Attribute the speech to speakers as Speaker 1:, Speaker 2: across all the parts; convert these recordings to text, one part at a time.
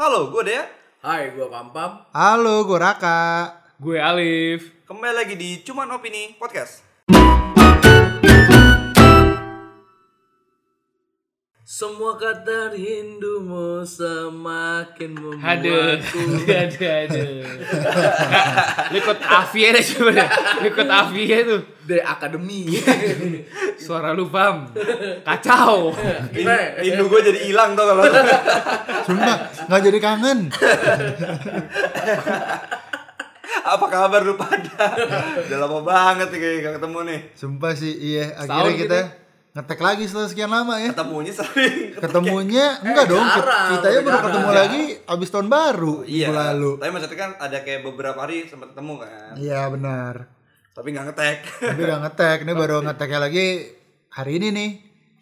Speaker 1: Halo, gue Dea.
Speaker 2: Hai, gua Pampam.
Speaker 3: Halo, gue Raka.
Speaker 4: Gue Alif.
Speaker 1: Kembali lagi di Cuman Opini Podcast.
Speaker 2: Semua kata rindumu semakin
Speaker 4: Ada,
Speaker 2: membuatku
Speaker 4: ada, ada. Lu ikut Avia deh coba deh. Lu ikut Avia tuh.
Speaker 2: dari akademi.
Speaker 4: Suara lu pam. Kacau.
Speaker 3: ya,
Speaker 1: In- Rindu gue jadi hilang tau kalau
Speaker 3: Sumpah, nggak jadi kangen.
Speaker 1: apa kabar lu pada? Udah lama banget nih kayak gak ketemu nih.
Speaker 3: Sumpah sih, iya. Akhirnya kita ngetek lagi setelah sekian lama ya.
Speaker 1: Ketemunya sering.
Speaker 3: Ketemunya enggak dong.
Speaker 2: jarang,
Speaker 3: Kita ya baru
Speaker 2: jarang.
Speaker 3: ketemu lagi abis tahun baru
Speaker 1: Iya.
Speaker 3: minggu lalu.
Speaker 1: Tapi maksudnya kan ada kayak beberapa hari sempat ketemu kan.
Speaker 3: Iya benar.
Speaker 1: Tapi nggak ngetek.
Speaker 3: Tapi udah ngetek, ini baru ngeteknya lagi hari ini nih.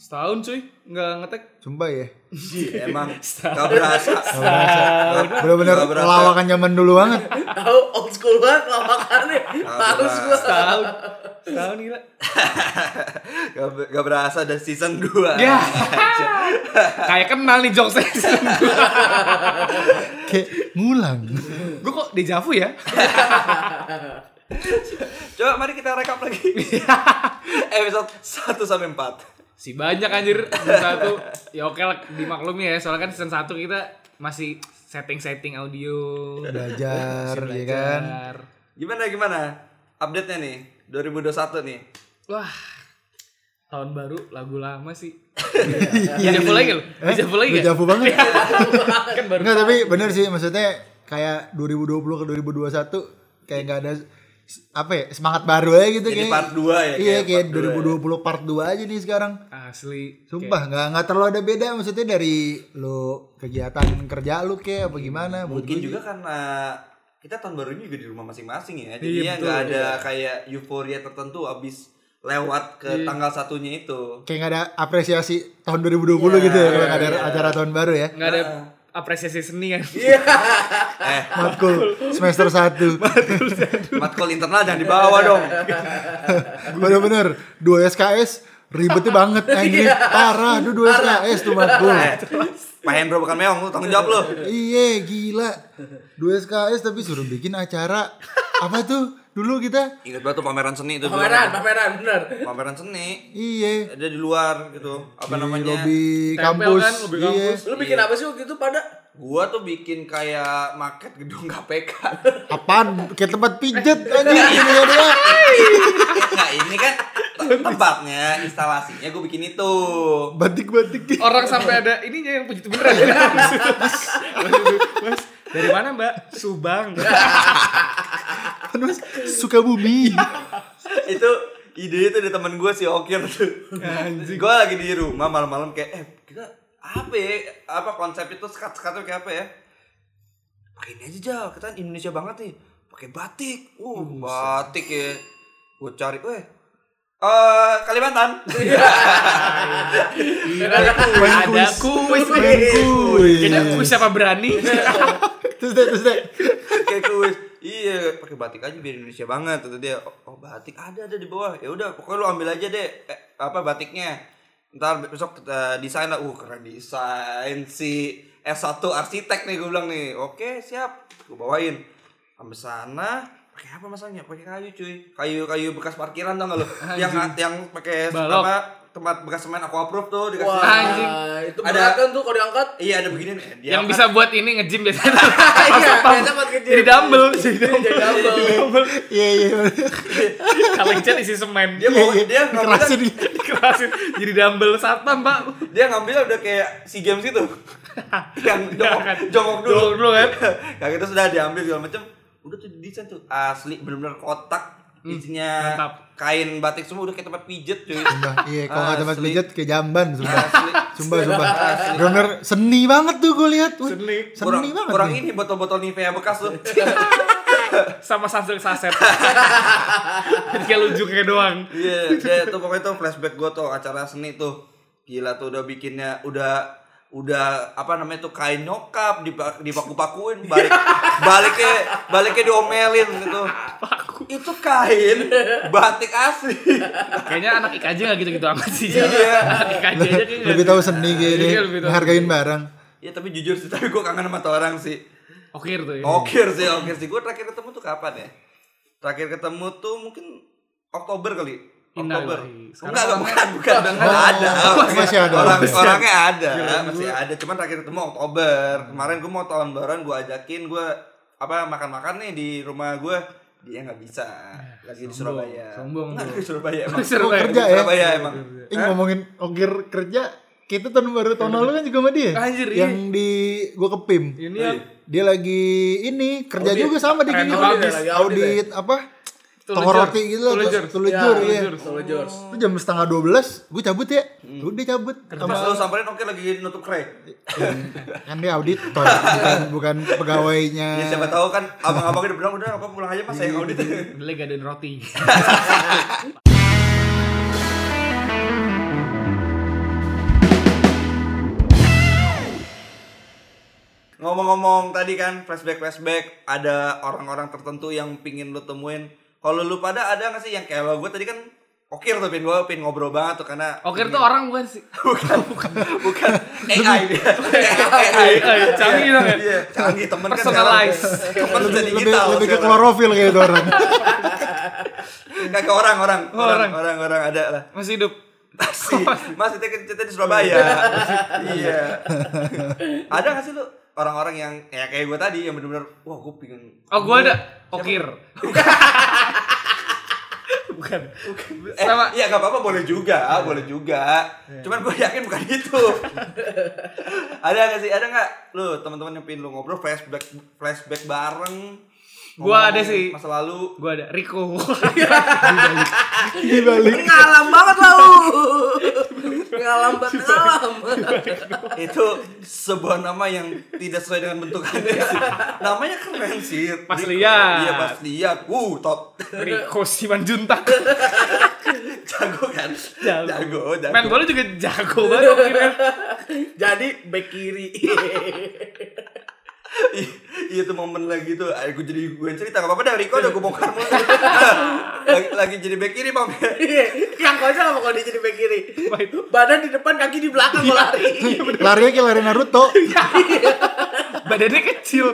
Speaker 4: Setahun cuy, nggak ngetek.
Speaker 3: Sumpah ya.
Speaker 1: Emang gak berasa.
Speaker 3: Bener-bener
Speaker 1: Nah, Nggak berasa.
Speaker 3: lawakan zaman dulu banget.
Speaker 2: Tahu old school banget lawakannya. Harus gua.
Speaker 4: Setahun. Setahun gila.
Speaker 1: Gak, be- gak berasa ada season 2.
Speaker 4: Ya. Kayak kenal nih jokes
Speaker 3: Kayak ngulang.
Speaker 4: Gue kok dejavu ya?
Speaker 1: Coba mari kita rekap lagi.
Speaker 3: Ya.
Speaker 1: Episode 1 sampai 4.
Speaker 4: Si banyak anjir season satu. Ya oke lah dimaklumi ya. Soalnya kan season satu kita masih setting-setting audio.
Speaker 3: Belajar, ya
Speaker 4: Masih
Speaker 3: kan.
Speaker 4: belajar.
Speaker 1: Gimana gimana? Update-nya nih 2021 nih.
Speaker 4: Wah, tahun baru lagu lama sih. Iya, Dejavu lagi loh.
Speaker 3: Eh?
Speaker 4: Dejavu lagi
Speaker 3: Udah
Speaker 4: ya?
Speaker 3: jauh banget.
Speaker 4: Kan baru.
Speaker 3: Enggak tapi bener sih maksudnya kayak 2020 ke 2021 kayak nggak ada s- apa ya semangat baru aja gitu
Speaker 1: Jadi
Speaker 3: kayak
Speaker 1: part 2 ya.
Speaker 3: iya
Speaker 1: part
Speaker 3: kayak
Speaker 1: dua ya.
Speaker 3: 2020 part 2 aja nih sekarang
Speaker 4: Asli.
Speaker 3: sumpah nggak nggak terlalu ada beda maksudnya dari lo kegiatan kerja lu kayak apa gimana buat
Speaker 1: mungkin
Speaker 3: gua
Speaker 1: juga karena kita tahun barunya juga di rumah masing-masing ya jadi
Speaker 4: Iya,
Speaker 1: ya
Speaker 4: betul,
Speaker 1: nggak ada kayak euforia tertentu abis lewat ke
Speaker 4: Iya.
Speaker 1: tanggal satunya itu
Speaker 3: kayak nggak ada apresiasi tahun 2020
Speaker 1: Iya,
Speaker 3: gitu ya kalau nggak ada acara tahun baru ya
Speaker 4: Enggak ada apresiasi seni kan.
Speaker 1: eh
Speaker 3: matkul semester 1
Speaker 1: matkul internal jangan dibawa dong
Speaker 3: bener-bener 2 SKS ribetnya banget anjing
Speaker 4: Iya.
Speaker 3: parah aduh 2 SKS tuh matkul
Speaker 1: eh, Pak Hendro bukan meong lu tanggung jawab lu
Speaker 3: Iya gila Dua SKS tapi suruh bikin acara Apa tuh dulu kita
Speaker 1: ingat banget tuh pameran seni itu dulu.
Speaker 2: Pameran, pameran bener.
Speaker 1: pameran seni
Speaker 3: Iya
Speaker 1: ada di luar gitu
Speaker 4: Iya,
Speaker 1: apa
Speaker 3: Di
Speaker 1: namanya
Speaker 3: lobi
Speaker 4: Tempel
Speaker 3: kampus
Speaker 4: kan, lobi
Speaker 3: Iya
Speaker 4: kampus.
Speaker 2: Lu bikin apa sih waktu itu pada?
Speaker 1: gua tuh bikin kayak market gedung KPK
Speaker 3: Apaan kayak tempat pijet anjing ini ya dia
Speaker 1: nah ini kan te- tempatnya instalasinya gua bikin itu
Speaker 3: Batik-batik gitu
Speaker 4: Orang sampai ada ininya yang puji beneran. Mas, mas, dari mana Mbak? Subang.
Speaker 3: Kan, Mas suka bumi
Speaker 1: itu ide itu dari teman gue si Okir tuh gue lagi di rumah malam-malam kayak eh kita apa ya apa konsep itu sekat sekatnya kayak apa ya pakai ini aja jal kita kan Indonesia banget nih pakai batik uh batik ya gue cari weh eh Kalimantan
Speaker 4: ada kuis.
Speaker 3: Main kuis.
Speaker 4: Kayaknya kuis siapa berani?
Speaker 3: Terus deh terus deh
Speaker 1: kayak kuis iya pakai batik aja biar Indonesia banget kata dia oh, oh, batik ada ada di bawah ya udah pokoknya lu ambil aja deh eh, apa batiknya ntar besok kita desain lah uh keren desain si S1 arsitek nih gue bilang nih oke siap gue bawain ambil sana pakai apa masanya pakai kayu cuy kayu kayu bekas parkiran tau gak lu yang yang pakai
Speaker 4: Balok.
Speaker 1: apa tempat bekas semen aku approve tuh dikasih
Speaker 2: Wah,
Speaker 4: Anjing.
Speaker 2: itu
Speaker 1: Ada-
Speaker 2: berat kan tuh kalau diangkat.
Speaker 1: iya ada begini nih Dia
Speaker 4: yang
Speaker 1: angkat.
Speaker 4: bisa buat ini nge-gym biasanya.
Speaker 2: Iya,
Speaker 4: Pas
Speaker 2: biasa buat nge-gym.
Speaker 4: Jadi dumbbell, jadi dumbbell.
Speaker 2: Jadi double.
Speaker 3: Iya iya
Speaker 4: Oh, Kalau nge-gym isi semen.
Speaker 1: dia mau dia ngambil
Speaker 3: Kerasin gitu
Speaker 4: dikerasin jadi dumbbell satpam pak
Speaker 1: dia ngambilnya udah kayak si games itu yang jongkok,
Speaker 4: kan?
Speaker 1: jongkok dulu
Speaker 4: Jongkok dulu kan?
Speaker 1: kayak gitu sudah diambil segala macam udah tuh didesain tuh asli bener-bener kotak isinya
Speaker 4: Hmm, mantap.
Speaker 1: kain batik semua udah kayak tempat pijet cuy
Speaker 3: Sumpah iya kalau nggak tempat
Speaker 1: Ah, Asli.
Speaker 3: pijet kayak jamban sumpah
Speaker 1: asli
Speaker 3: Sumpah sumpah Bener seni banget tuh gue lihat Wih,
Speaker 4: Seni.
Speaker 3: Seni
Speaker 1: kurang,
Speaker 3: banget
Speaker 1: kurang
Speaker 3: nih.
Speaker 1: ini botol-botol Nivea bekas tuh
Speaker 4: sama sunsilk saset jadi kayak lujungnya doang
Speaker 1: Iya, dia tuh pokoknya tuh flashback gue tuh acara seni tuh gila tuh udah bikinnya udah udah apa namanya tuh kain nyokap dipa- dipaku-pakuin balik baliknya baliknya diomelin gitu itu kain batik asli
Speaker 4: kayaknya anak IKJ gak gitu-gitu amat sih
Speaker 1: Iya.
Speaker 4: anak IKJ aja kayaknya
Speaker 3: lebih tahu seni gitu
Speaker 4: Iya, lebih tahu
Speaker 3: ngehargain barang
Speaker 1: Iya tapi jujur sih, tapi gue kangen sama tuh orang sih.
Speaker 4: Oke tuh ya.
Speaker 1: Okir sih, okir sih. Gue terakhir ketemu tuh kapan ya? Terakhir ketemu tuh mungkin Oktober kali.
Speaker 4: Indah
Speaker 1: Oktober.
Speaker 4: kali. Sekarang
Speaker 1: Enggak, enggak, bukan, bukan.
Speaker 4: udah
Speaker 1: Enggak
Speaker 3: nggak
Speaker 1: ada.
Speaker 3: ada. Masih ada.
Speaker 1: Orang,
Speaker 3: Masih
Speaker 1: orangnya ada, masih ada. Cuman terakhir ketemu Oktober. Kemarin gue mau tahun baruan gue ajakin gue apa makan-makan nih di rumah gue dia nggak bisa lagi di
Speaker 4: sombong,
Speaker 1: Surabaya.
Speaker 4: sombong
Speaker 1: Nggak,
Speaker 4: lu.
Speaker 1: di Surabaya. Emang.
Speaker 4: Di Surabaya.
Speaker 3: kerja ya?
Speaker 1: Surabaya emang.
Speaker 3: Ini ngomongin ongkir kerja, kita tahun baru tahun lalu kan juga sama dia.
Speaker 4: Anjir, iya.
Speaker 3: yang di gua ke PIM.
Speaker 4: Ini ya
Speaker 3: Dia lagi ini kerja juga sama di
Speaker 4: Audit.
Speaker 3: gini
Speaker 4: Audit,
Speaker 3: audit,
Speaker 2: lagi audit
Speaker 3: audit apa?
Speaker 4: Tulejur.
Speaker 3: Tongoroti gitu loh,
Speaker 4: Tulejur.
Speaker 3: tulejur
Speaker 2: Ya,
Speaker 3: iya.
Speaker 4: tulejur.
Speaker 2: Solo George.
Speaker 3: Itu jam setengah 12, gue cabut ya. Udah cabut.
Speaker 1: Terus
Speaker 3: Sama,
Speaker 1: lu samperin oke lagi nutup kray.
Speaker 3: kan dia auditor, bukan, bukan pegawainya.
Speaker 1: Ya siapa tahu kan abang-abangnya udah bilang udah apa pulang aja mas saya audit.
Speaker 4: Beli gak ada roti.
Speaker 1: Ngomong-ngomong tadi kan flashback flashback ada orang-orang tertentu yang pingin lu temuin. Kalau lu pada ada gak sih yang kayak gue tadi kan okir tuh pin gue pin ngobrol banget tuh karena
Speaker 3: Oh,
Speaker 4: Oke tuh orang bukan sih.
Speaker 1: bukan bukan bukan AI dia AI
Speaker 4: AI, canggih dong ya.
Speaker 1: Iya, canggih temen kan
Speaker 4: Personalize.
Speaker 1: sekarang. temen tuh jadi
Speaker 3: lebih,
Speaker 1: kita
Speaker 3: lebih ke klorofil kayak itu orang.
Speaker 1: Iya, nggak ke orang orang
Speaker 3: Oh,
Speaker 1: orang
Speaker 4: Orang.
Speaker 1: orang orang ada lah
Speaker 4: Masih hidup.
Speaker 1: masih masih kita cerita di Surabaya iya ada nggak sih lu orang-orang yang ya kayak gue tadi yang bener-bener wah gue pingin
Speaker 4: Oh, gua ada. Okir. Bukan.
Speaker 1: eh,
Speaker 4: Sama
Speaker 1: iya
Speaker 4: Iya.
Speaker 1: gak apa-apa boleh juga boleh juga cuman gue yakin bukan itu ada nggak sih ada nggak lu teman-teman yang pingin lu ngobrol flashback flashback bareng
Speaker 4: Gua
Speaker 1: ngomong
Speaker 4: ada sih.
Speaker 1: masa lalu
Speaker 4: gua ada Rico.
Speaker 3: Di balik.
Speaker 2: Ngalam banget lah lu. Ngalam banget ngalam.
Speaker 1: itu sebuah nama yang tidak sesuai dengan bentukannya sih. namanya keren sih
Speaker 4: Pas
Speaker 1: Rico.
Speaker 4: lihat.
Speaker 1: iya pas lihat uh top
Speaker 4: Rico Simanjuntak.
Speaker 1: jago kan
Speaker 4: Jago.
Speaker 1: jago jago
Speaker 4: Main bola juga jago banget Okir ya.
Speaker 2: Jadi back kiri.
Speaker 1: Iya, iya tuh momen lagi tuh ayo gue jadi gue yang cerita gak apa-apa dah Riko udah gue bongkar mulu lagi, lagi jadi back kiri bang
Speaker 4: Iya.
Speaker 2: Iya, Kang Kojang apa kalau dia jadi back kiri?
Speaker 4: Apa itu? Iya.
Speaker 2: Badan di depan, kaki di belakang kalau
Speaker 1: iya,
Speaker 2: lari.
Speaker 3: Larinya kayak lari Naruto.
Speaker 4: Badannya kecil.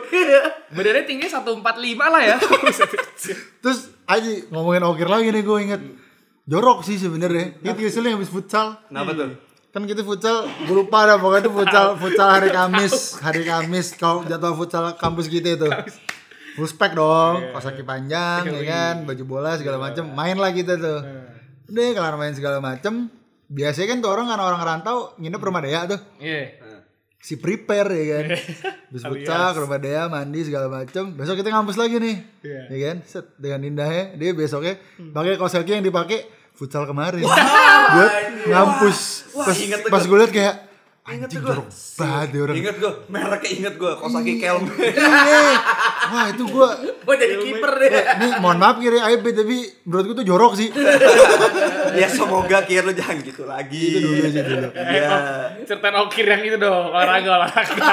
Speaker 4: Badannya tinggi 145 lah ya.
Speaker 3: Terus aja ngomongin ongkir lagi nih gue inget. Jorok sih sebenarnya. Itu keselnya habis futsal.
Speaker 1: kenapa tuh
Speaker 3: kan kita futsal gue lupa dah pokoknya itu futsal futsal hari Kamis hari Kamis kau jadwal futsal kampus kita itu respect dong kaos kaki panjang ya kan baju bola segala macem main lah kita tuh udah kelar main segala macem biasanya kan tuh orang karena orang rantau nginep rumah Dea tuh
Speaker 4: Iya.
Speaker 3: si prepare ya kan
Speaker 1: Iya.
Speaker 3: Habis futsal ke rumah Dea mandi segala macem besok kita ngampus lagi nih
Speaker 4: Iya.
Speaker 3: ya kan set dengan indahnya dia besoknya
Speaker 1: Hmm.
Speaker 3: pakai kaos kaki yang dipakai futsal kemarin gue ngampus
Speaker 1: Wah,
Speaker 3: pas,
Speaker 1: inget tuh
Speaker 3: pas
Speaker 1: gua.
Speaker 3: gue liat kayak
Speaker 1: Ingat
Speaker 3: anjing
Speaker 1: tuh gua.
Speaker 3: jorok banget ya orang
Speaker 1: inget gue mereknya inget gue Kosaki Kelm
Speaker 3: Iya. wah itu gue
Speaker 2: Mau jadi
Speaker 4: Iya,
Speaker 2: kiper Iya. deh.
Speaker 3: ini mohon maaf kiri aib tapi menurut gue tuh jorok sih
Speaker 1: ya semoga kir lu jangan gitu lagi
Speaker 3: itu dulu sih dulu
Speaker 2: Eh,
Speaker 1: Iya.
Speaker 2: oh.
Speaker 4: Ceritain Okir yang itu dong, olahraga olahraga.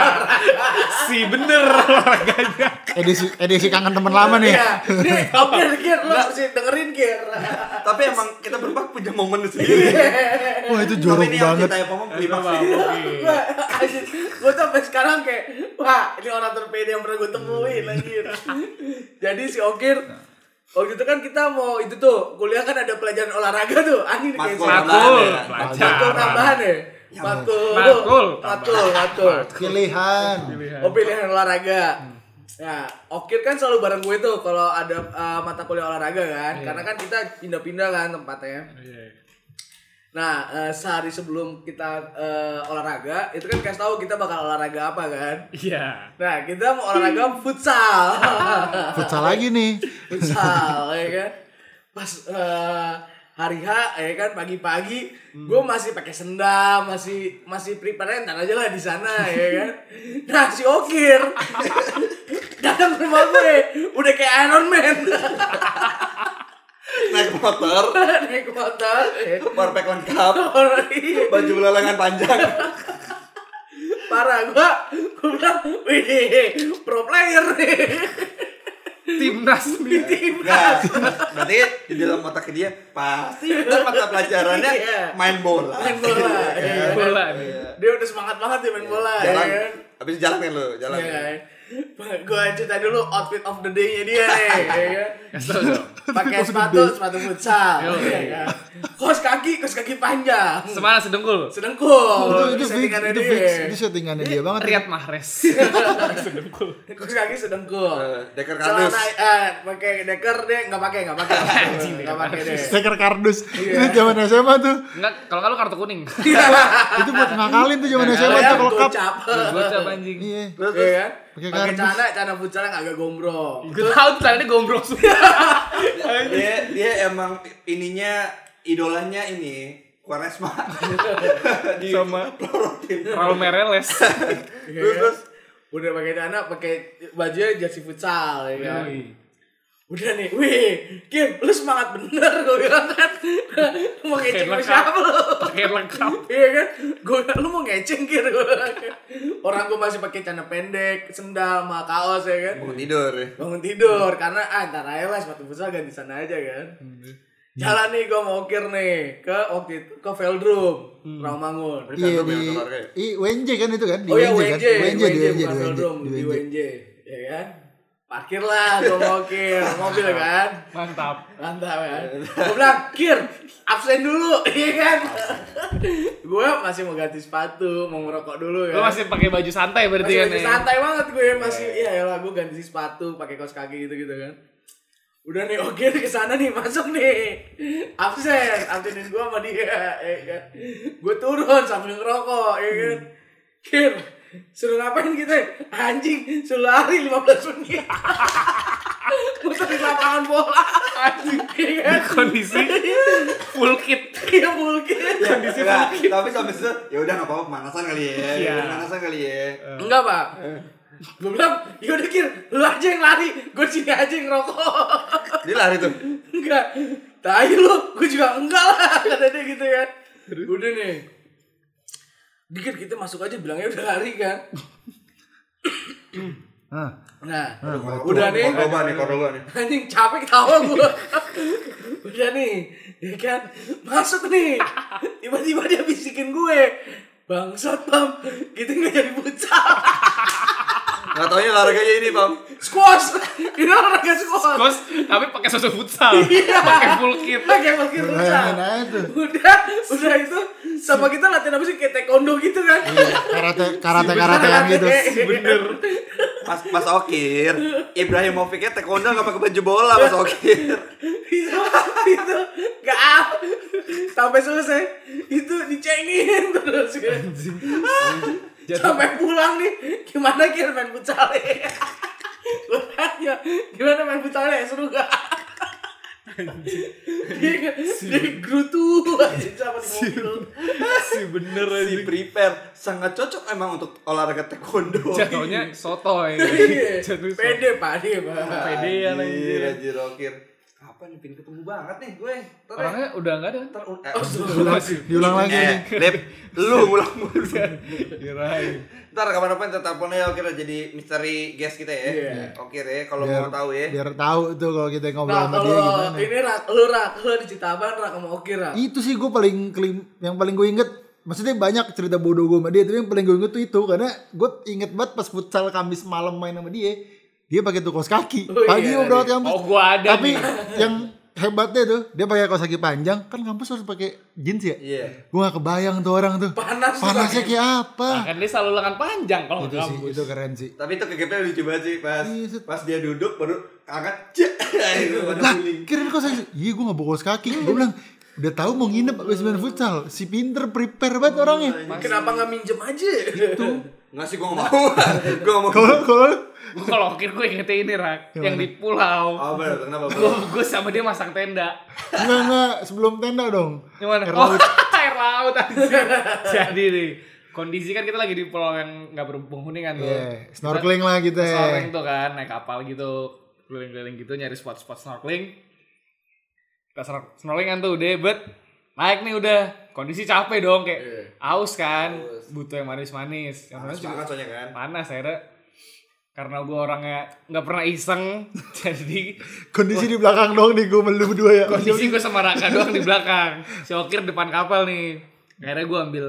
Speaker 4: si bener olahraganya.
Speaker 3: edisi edisi kangen teman lama nih
Speaker 2: Iya. Nih, hampir kir lu harus dengerin kir.
Speaker 1: tapi emang kita berempat punya momen sendiri
Speaker 3: wah itu
Speaker 1: tapi
Speaker 3: jorok
Speaker 1: ini yang
Speaker 3: banget
Speaker 1: cerita ya Pomong
Speaker 2: Iya,
Speaker 1: klimaks
Speaker 2: Gue gue tuh sampai sekarang kayak wah ini orang terpede yang pernah gue temuin
Speaker 4: Hmm.
Speaker 2: anjir. Jadi si Okir waktu itu kan kita mau itu tuh kuliah kan ada pelajaran olahraga tuh anjir kayak
Speaker 1: Matkul.
Speaker 2: sama-
Speaker 4: Matkul,
Speaker 1: ya.
Speaker 2: matkul
Speaker 4: pelajaran.
Speaker 2: tambahan ya. Matkul,
Speaker 4: Matkul.
Speaker 2: matkul, matkul.
Speaker 3: pilihan
Speaker 2: Oh pilihan olahraga. Ya, Okir kan selalu bareng gue tuh kalau ada uh, mata kuliah olahraga kan, karena kan kita pindah-pindah kan tempatnya. Nah, eh, sehari sebelum kita eh, olahraga, itu kan kasih tahu kita bakal olahraga apa kan.
Speaker 4: Iya.
Speaker 2: Nah, kita mau olahraga futsal.
Speaker 3: futsal lagi nih
Speaker 2: futsal, ya kan. Pas eh, hari H, ya kan pagi-pagi, gue masih pakai sendal, masih masih prepare ntar aja lah di sana, ya kan. Nah, si Okir datang ke rumah gue, udah kayak Iron Man
Speaker 1: naik motor
Speaker 2: naik motor. ya.
Speaker 1: warpack lengkap
Speaker 2: Orang- iya.
Speaker 1: baju belalangan panjang
Speaker 2: parah gua gua bilang wih pro player nih
Speaker 4: Timnas nih.
Speaker 1: Nah, berarti di dalam otak dia pasti ntar mata pelajarannya
Speaker 2: Iya.
Speaker 1: main bola.
Speaker 2: main bola ya.
Speaker 4: Bola nih.
Speaker 2: dia udah semangat banget ya main bola ya
Speaker 1: Iya. Jalan
Speaker 2: kan
Speaker 1: Habis jalan kan lu, jalan.
Speaker 2: Iya kan? Gue cerita dulu outfit of the day-nya dia nih. ya kan?
Speaker 4: Kasih tau dong.
Speaker 2: Pakai sepatu, sepatu futsal. Iya kan? Kos kaki, kos kaki panjang.
Speaker 4: Semana sedengkul.
Speaker 2: Sedengkul.
Speaker 3: itu itu fix,
Speaker 2: Oh, Settingannya
Speaker 3: itu
Speaker 2: dia.
Speaker 3: fix, itu settingannya dia banget.
Speaker 4: Riyad Mahrez. sedengkul.
Speaker 2: Kos kaki sedengkul.
Speaker 1: Eh, Deker kardus.
Speaker 2: Celana eh pakai deker deh nggak pakai nggak pakai nggak pakai deh.
Speaker 3: Steker kardus. Itu zaman SMA tuh.
Speaker 4: Enggak, kalau nggak lu kartu kuning.
Speaker 3: Itu buat ngakalin tuh zaman SMA
Speaker 2: Saya
Speaker 3: tuh kalau cup.
Speaker 2: cap.
Speaker 4: Bocah anjing.
Speaker 3: Iya.
Speaker 1: Terus
Speaker 2: Iya kan?
Speaker 3: Pakai
Speaker 2: Pakai
Speaker 3: kardus.
Speaker 2: celana, celana futsal yang agak gombrong.
Speaker 4: Gue tau tuh tadi gombrong semua.
Speaker 1: terus dia dia emang ininya idolanya ini Quaresma di sama Tim.
Speaker 4: Raul Mereles.
Speaker 2: Iya kan? udah pakai celana, pakai bajunya jersey futsal ya kan. Udah nih, wih, Kim, lu semangat bener gue bilang kan. Lu mau ngeceng sama
Speaker 4: lengkap.
Speaker 2: siapa lu?
Speaker 4: Pakai lengkap.
Speaker 2: Iya kan? Gue lu mau ngeceng kira gue. kan. Orang gue masih pakai celana pendek, sendal, sama kaos ya kan.
Speaker 1: Bangun tidur.
Speaker 2: Bangun tidur karena ah ntar aja lah sepatu futsal ganti sana aja kan.
Speaker 3: Hmm.
Speaker 2: Jalan nih gue mau ukir nih ke waktu itu ke Veldrum, Rawamangun.
Speaker 3: Iya
Speaker 1: Kardus
Speaker 3: di
Speaker 1: yang keluarga ya?
Speaker 3: i WNJ kan itu kan? Hmm. Di
Speaker 2: Oh ya
Speaker 3: kan?
Speaker 2: WNJ,
Speaker 3: WNJ, di WNJ,
Speaker 2: bukan
Speaker 3: di WNJ,
Speaker 2: Veldrum,
Speaker 3: di
Speaker 2: di
Speaker 3: WNJ.
Speaker 2: WNJ, ya kan? Parkir lah gue mau ukir, mobil kan.
Speaker 4: Mantap.
Speaker 2: Mantap kan? Gue bilang, Kir, absen dulu, iya kan? gue masih mau ganti sepatu, mau ngerokok dulu kan?
Speaker 4: Lu masih pakai baju santai berarti
Speaker 2: masih
Speaker 4: kan
Speaker 2: masih
Speaker 4: ya?
Speaker 2: santai banget gue masih iya ya lah gue ganti sepatu pakai kaos kaki gitu gitu kan udah nih oke ke sana nih masuk nih absen absenin gue sama dia ya kan gue turun sambil ngerokok ya kan kir suruh ngapain kita anjing suruh lari 15 menit muter di lapangan bola anjing ya kan
Speaker 4: Kondisi full kit.
Speaker 2: iya mungkin
Speaker 1: Kondisi Tapi sampai situ ya udah enggak apa-apa pemanasan kali ya.
Speaker 4: Iya.
Speaker 1: Pemanasan kali ya.
Speaker 2: Enggak pak Gue bilang, yaudah Kir, lu aja yang lari Gue sini aja yang ngerokok
Speaker 1: Dia lari tuh.
Speaker 2: Enggak Tai lu, gue juga enggak lah Kata dia gitu kan Udah nih Dikir kita masuk aja bilangnya udah lari kan
Speaker 3: Ah,
Speaker 2: Nah,
Speaker 1: Udah
Speaker 2: udah
Speaker 1: nih.
Speaker 2: nih
Speaker 1: Kordoba nih, kordoba nih.
Speaker 2: Anjing capek ketawa gue Udah nih Ya kan Masuk nih Tiba-tiba dia bisikin gue Bangsat Bam Kita gak jadi futsal
Speaker 1: Enggak taunya olahraganya ini, Pam.
Speaker 2: Squash Ini olahraga squash
Speaker 4: Terus tapi pakai susu futsal.
Speaker 2: Iya.
Speaker 4: Pakai full kit.
Speaker 2: Pakai pakai futsal
Speaker 3: bayangin aja tuh.
Speaker 2: udah udah itu sama kita latihan apa sih kayak taekwondo gitu kan
Speaker 3: Karate, Iya. karate, karate yang gitu.
Speaker 2: bener
Speaker 1: Mas Mas Okir. Ibrahimovic-nya taekwondo enggak pakai baju bola, Mas Okir.
Speaker 2: itu itu gak ah. sampai selesai itu dicengin terus kan Ah, sampai pulang nih gimana kira main futsal ya? Gua tanya, gimana main futsal ya? seru gak dia, dia gerutu aja sama di mobil
Speaker 4: Si bener
Speaker 1: Si prepare sangat cocok emang untuk olahraga taekwondo.
Speaker 4: Jatuhnya sotoy.
Speaker 2: Iya,
Speaker 4: Jatuh
Speaker 2: pede pak dia pak
Speaker 1: anjir.
Speaker 4: Pedean anjir.
Speaker 1: Anjir, Okir. Kapan nih pin ketemu banget nih gue? Ntar ya.
Speaker 4: Orangnya udah enggak ada.
Speaker 1: Ntar, eh,
Speaker 4: Udah sih.
Speaker 3: Diulang lagi
Speaker 1: Eh,
Speaker 3: nih.
Speaker 1: Dep, lu ngulang mulu.
Speaker 4: Kirain.
Speaker 1: Ntar kapan-kapan kita telepon ya Okir jadi misteri guest kita ya. Okir ya, kalau mau tahu ya.
Speaker 3: Iya. Biar tahu tuh kalau kita ngobrol
Speaker 2: Nah
Speaker 3: sama dia gitu.
Speaker 2: kalau
Speaker 3: gimana.
Speaker 2: ini rak, lu rak, lu di Citaban rak sama Oki rak.
Speaker 3: Itu sih gue paling kelim, yang paling gue inget Maksudnya banyak cerita bodoh gue sama dia, tapi yang paling gue inget tuh itu karena gue inget banget pas futsal Kamis malam main sama dia, dia pakai tuh kaos kaki.
Speaker 2: Oh,
Speaker 3: Pagi
Speaker 2: iya,
Speaker 3: gue berangkat kampus.
Speaker 4: Oh, gua ada
Speaker 3: tapi
Speaker 4: nih.
Speaker 3: yang hebatnya tuh dia pakai kaos kaki panjang, kan kampus harus pakai jeans ya.
Speaker 1: Iya.
Speaker 3: Gue gak kebayang tuh orang tuh.
Speaker 2: Panas tuh,
Speaker 3: Panasnya
Speaker 2: Kak.
Speaker 3: kayak apa?
Speaker 4: Kan dia selalu lengan panjang kalau
Speaker 3: Itu
Speaker 4: nggak
Speaker 3: sih, itu keren sih.
Speaker 1: Tapi itu kegepnya lucu banget sih pas
Speaker 3: Iya, set.
Speaker 1: pas dia duduk baru angkat cek. Nah, Itu pada
Speaker 3: Lah,
Speaker 1: guling.
Speaker 3: kirain kok saya iya gue gak bawa kaos kaki. Gue bilang udah tahu mau nginep abis main futsal. Si pinter prepare banget orangnya.
Speaker 2: Kenapa nggak minjem aja? Itu.
Speaker 1: Enggak sih gua enggak mau. gua enggak mau.
Speaker 3: Kalau kalau
Speaker 4: Gua kalau akhir gue ingetnya ini rak yang di pulau.
Speaker 1: Oh, bener, kenapa?
Speaker 4: Gue
Speaker 1: Bro?
Speaker 4: gue sama dia masang tenda.
Speaker 3: enggak enggak sebelum tenda dong.
Speaker 4: Gimana?
Speaker 3: Air
Speaker 4: Oh,
Speaker 3: laut.
Speaker 4: air laut anjir. Jadi nih, kondisi kan kita lagi di pulau yang nggak berpenghuni kan tuh.
Speaker 3: Iya, snorkeling lah kita.
Speaker 4: Snorkeling tuh kan, naik kapal gitu, keliling-keliling gitu nyari spot-spot snorkeling. Kita snor- snorkeling kan tuh udah bet. Naik nih udah. Kondisi capek dong kayak aus kan, butuh yang manis-manis. Yang
Speaker 1: Panas
Speaker 4: manis juga
Speaker 1: banget soalnya kan.
Speaker 4: panas akhirnya karena gue orangnya nggak pernah iseng jadi
Speaker 3: Kondisi di belakang dong nih gue melu berdua ya.
Speaker 4: kondisi gue sama Raka doang di belakang si Okir depan kapal nih akhirnya gue ambil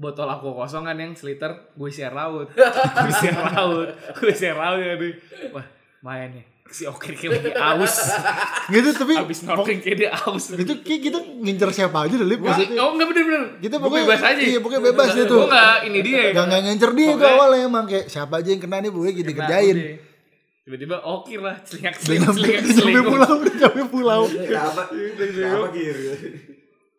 Speaker 4: botol aku kosong kan yang seliter gue share laut gue share laut gue share laut ya aduh. wah main nih si oke kayak lagi aus
Speaker 3: gitu tapi
Speaker 4: abis snorkeling kayak dia aus
Speaker 3: itu kayak kita ngincer siapa aja deh Lip
Speaker 4: Wah,
Speaker 3: maksudnya
Speaker 4: oh enggak bener-bener
Speaker 3: kita
Speaker 4: Gua
Speaker 3: pokoknya
Speaker 4: bebas aja
Speaker 3: iya pokoknya bebas dia tuh
Speaker 4: gue enggak ini dia ya. Nah,
Speaker 3: gak gak ngincer dia itu
Speaker 4: Pokoknya-
Speaker 3: awalnya emang kayak siapa aja yang kena nih pokoknya kita
Speaker 4: Nah,
Speaker 3: kerjain
Speaker 4: udah. tiba-tiba oke lah celingak
Speaker 3: udah
Speaker 4: celingak
Speaker 3: nyampe
Speaker 4: celingak
Speaker 3: udah nyampe
Speaker 4: celingak
Speaker 3: pulau udah nyampe pulau
Speaker 1: Kenapa?
Speaker 3: Iya,
Speaker 1: Kenapa gitu?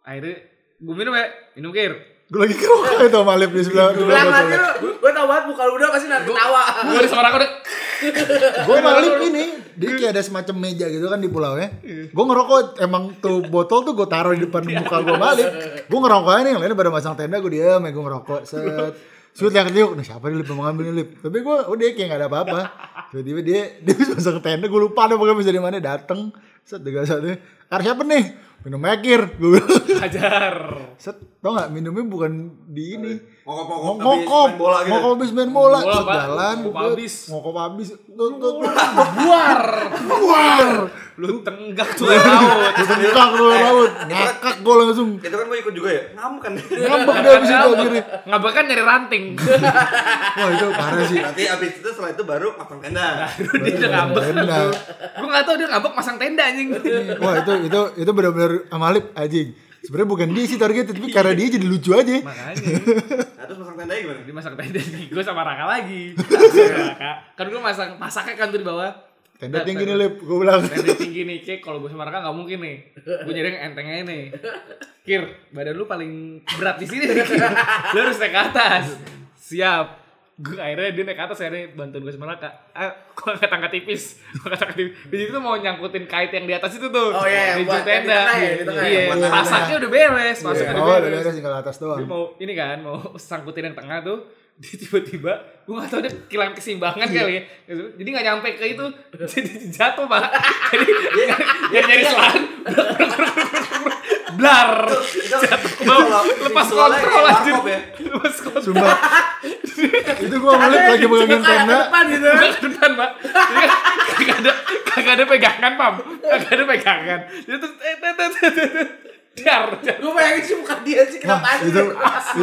Speaker 4: akhirnya gue minum ya minum kir
Speaker 3: gue lagi kerokan itu sama Lip di sebelah di sebelah
Speaker 2: Bilang
Speaker 3: botol.
Speaker 2: lagi lu, gue tau banget muka lu udah pasti nanti ketawa.
Speaker 4: gue di semarang udah
Speaker 3: gue balik ini dia kayak ada semacam meja gitu kan di pulaunya gue ngerokok emang tuh botol tuh gue taruh di depan muka gue balik gue ngerokok aja nih yang lainnya pada masang tenda gue diam ya gue ngerokok set Sud yang ketiuk, nah siapa nih Lip yang mau ngambil nih Lip Tapi gue udah kayak gak ada apa-apa Tiba-tiba dia, dia bisa masang tenda, gue lupa ada pokoknya bisa di mana Dateng, set tiga satu Kar siapa nih? Minum ekir Gue bilang,
Speaker 4: hajar
Speaker 3: set tau gak minumnya bukan di ini
Speaker 1: Ngokok-ngokok habis main
Speaker 3: Ngok- ngokop
Speaker 1: bola gitu.
Speaker 3: ngokop habis main bola
Speaker 4: Bola,
Speaker 3: Set,
Speaker 4: Pak.
Speaker 3: jalan
Speaker 4: Ngokop
Speaker 3: gua-
Speaker 4: habis.
Speaker 3: ngokop habis Tut, tut, tut.
Speaker 4: buar
Speaker 3: Buar.
Speaker 4: lu tenggak tuh laut
Speaker 3: Ditengkak lu laut. Ngakak gue langsung.
Speaker 1: Itu kan gue ikut juga ya. Ngam kan.
Speaker 3: Ngambek dia abis itu akhirnya.
Speaker 4: ngabak kan nyari ranting
Speaker 3: Wah itu parah sih.
Speaker 1: Nanti abis itu setelah itu baru pasang
Speaker 3: Nah.
Speaker 1: tenda.
Speaker 4: dia udah ngambek
Speaker 3: Tenda.
Speaker 4: gue nggak tahu dia ngabak masang tenda anjing
Speaker 3: Wah itu itu itu benar-benar amalip anjing. Sebenarnya bukan dia sih targetnya tapi karena dia jadi lucu aja.
Speaker 4: makanya
Speaker 1: Nah, terus pasang tendanya gimana?
Speaker 4: dia masang tenda nih gue sama Raka lagi Sama Raka. kan gue masang masaknya kan tuh di bawah
Speaker 3: Tenda tinggi nih lip, gue bilang.
Speaker 4: tenda tinggi nih kayak kalau gue sama Raka nggak mungkin nih gue nyari yang enteng aja nih Kir badan lu paling berat di sini Kir. lu harus naik ke atas siap gue akhirnya dia naik ke atas akhirnya bantuin gue sama Raka ah gue angkat angkat tipis gue angkat angkat tipis di situ tuh mau nyangkutin kait yang di atas itu tuh
Speaker 2: Oh, iya, yang
Speaker 4: di ujung
Speaker 2: buat- yang di
Speaker 4: tenda
Speaker 2: tengah ya, di tengah ya,
Speaker 4: iya
Speaker 2: yang
Speaker 3: buat-
Speaker 4: masaknya udah beres masaknya
Speaker 3: Oh
Speaker 4: Iya. udah
Speaker 3: udah
Speaker 4: beres
Speaker 3: beres tinggal atas
Speaker 4: dia
Speaker 3: doang.
Speaker 4: mau ini kan mau sangkutin yang tengah tuh dia tiba-tiba gue gak tau dia kehilangan keseimbangan kali ya jadi gak nyampe ke itu jadi jatuh pak jadi dia nyari selan blar
Speaker 1: Itu
Speaker 4: bawah. lepas kontrol aja
Speaker 1: Ngokop ya.
Speaker 4: lepas kontrol
Speaker 3: Sumpah. itu gue amalip lagi
Speaker 2: Kayak
Speaker 3: pegangin
Speaker 2: ke
Speaker 3: tenda.
Speaker 2: depan gitu.
Speaker 4: Gak kedengeran pak Jadi kan Kagak ada Kagak ada pegangan pam Kagak ada pegangan Dia terus eh, tet, tet, tet, tet, tet. Dar dar.
Speaker 2: Gue bayangin sih muka dia sih kenapa
Speaker 3: Wah,
Speaker 2: aja.
Speaker 3: itu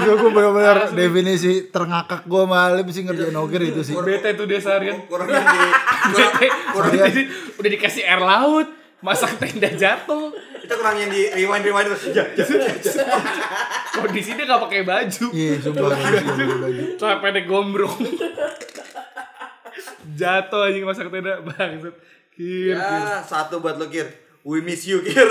Speaker 3: itu gue benar-benar definisi terngakak gue malam sih ngerjain ogir itu sih.
Speaker 4: Bete tuh dia seharian
Speaker 1: Kurang yang di kurang-
Speaker 4: Bete
Speaker 1: kurang-
Speaker 4: Udah di- udah dikasih air laut Masak tenda jatuh
Speaker 1: Itu kurang yang di rewind rewind terus. Ya, ya, ya.
Speaker 4: Kondisi dia gak pakai baju
Speaker 3: Iya, sumpah.
Speaker 4: Sampai ada gombrong Jatuh anjing masak tenda Bangsat Kir
Speaker 1: Ya, satu buat lo Kir. We miss you Kir.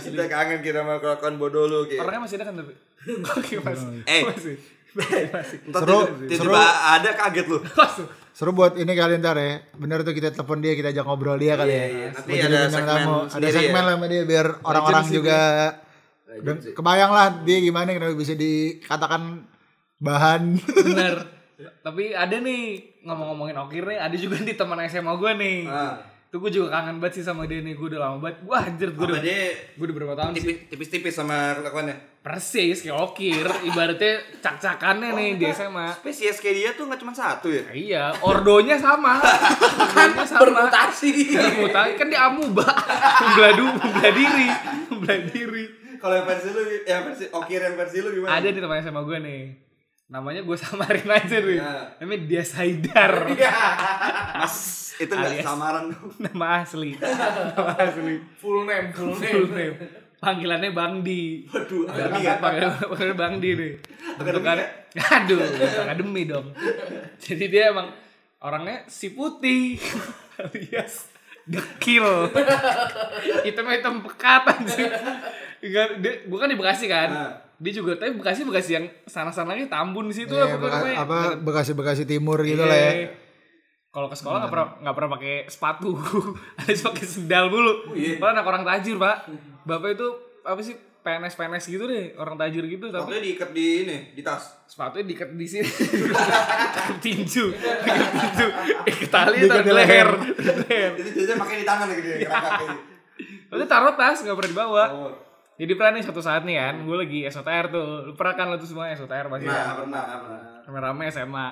Speaker 1: Kita kangen Kir sama kelakuan bodoh lu Kir.
Speaker 4: Orangnya masih ada kan tapi Oke masih
Speaker 1: Ya. Eh.
Speaker 4: Masih Masih
Speaker 1: Entar
Speaker 3: Seru,
Speaker 1: tiba- tiba-tiba ada kaget lu.
Speaker 4: Masih
Speaker 3: Seru buat ini kali ntar ya. Bener tuh kita telepon dia, kita ajak ngobrol dia kali ya.
Speaker 1: iya. Nanti
Speaker 3: Buat
Speaker 1: ada
Speaker 3: jadi bintang
Speaker 1: segmen
Speaker 3: tamu. Ada
Speaker 1: sendiri
Speaker 3: segmen
Speaker 1: ya.
Speaker 3: lah sama dia biar orang-orang juga Dan kebayang lah dia gimana kenapa bisa dikatakan bahan.
Speaker 4: Bener. Tapi ada nih ngomong-ngomongin Okir nih, ada juga di teman SMA gue nih.
Speaker 1: Ah.
Speaker 4: Tuh gue juga kangen banget sih sama dia nih, gue udah lama banget. Wah anjir gue
Speaker 1: Apa
Speaker 4: udah,
Speaker 1: dia
Speaker 4: gue udah berapa tahun sih?
Speaker 1: tipis- tipis-tipis sama kelakuannya?
Speaker 4: Persis kayak Okir, ibaratnya cak-cakannya nih di SMA.
Speaker 1: Spesies kayak dia tuh gak cuma satu ya?
Speaker 4: Nah, Iya, ordonya sama. Ordonya sama.
Speaker 2: Bermutasi.
Speaker 4: Bermutasi kan dia amuba, membelah du- membelah diri, membelah diri.
Speaker 1: Kalau yang versi lu, yang versi Okir yang versi lu gimana?
Speaker 4: Ada di teman SMA gue nih. Namanya gue samarin aja nih.
Speaker 1: Iya.
Speaker 4: Namanya dia Saidar.
Speaker 1: Mas, itu gak
Speaker 4: Alias.
Speaker 1: samaran dong.
Speaker 4: Nama asli. Nama asli.
Speaker 2: Full name, full
Speaker 4: full name. Panggilannya Bang Di.
Speaker 1: Waduh, akademi
Speaker 4: Dalam
Speaker 1: ya?
Speaker 4: panggilan panggilan Bang Di nih.
Speaker 1: Akademi
Speaker 4: Bentukannya, aduh, akademi dong. Jadi dia emang orangnya si putih alias dekil. hitam hitam pekat anjir. Enggak, dia, gua kan di Bekasi kan.
Speaker 3: Nah.
Speaker 1: Ah.
Speaker 4: Dia juga tapi Bekasi Bekasi yang sana-sana lagi Tambun situ
Speaker 3: Ya,
Speaker 4: apa
Speaker 3: Beka-
Speaker 4: namanya?
Speaker 3: apa Bekasi-Bekasi Timur gitu
Speaker 4: Iya.
Speaker 3: lah ya. Iya.
Speaker 4: Kalau ke sekolah nggak pernah nggak pernah pakai sepatu, harus pakai sendal
Speaker 3: Oh,
Speaker 4: dulu.
Speaker 3: iya.
Speaker 4: Malah anak orang tajir pak. Bapak itu apa sih PNS PNS gitu deh, orang tajir gitu tapi
Speaker 1: Waktunya diikat di ini, di tas.
Speaker 4: sepatunya diikat di sini. Ikat tinju, Ikat tinju, ikat tali
Speaker 3: Diikat
Speaker 4: taruh
Speaker 3: di
Speaker 4: di leher.
Speaker 3: leher.
Speaker 4: leher.
Speaker 1: Itu jajan pakai di tangan lagi dia, kerangka kayak gitu.
Speaker 4: Lalu taruh tas nggak pernah dibawa.
Speaker 1: Oh,
Speaker 4: Jadi pernah nih satu saat nih kan, gue lagi SOTR tuh, lu pernah kan lu tuh semua SOTR pasti kan?
Speaker 1: nah, pernah, pernah.
Speaker 4: rame-rame SMA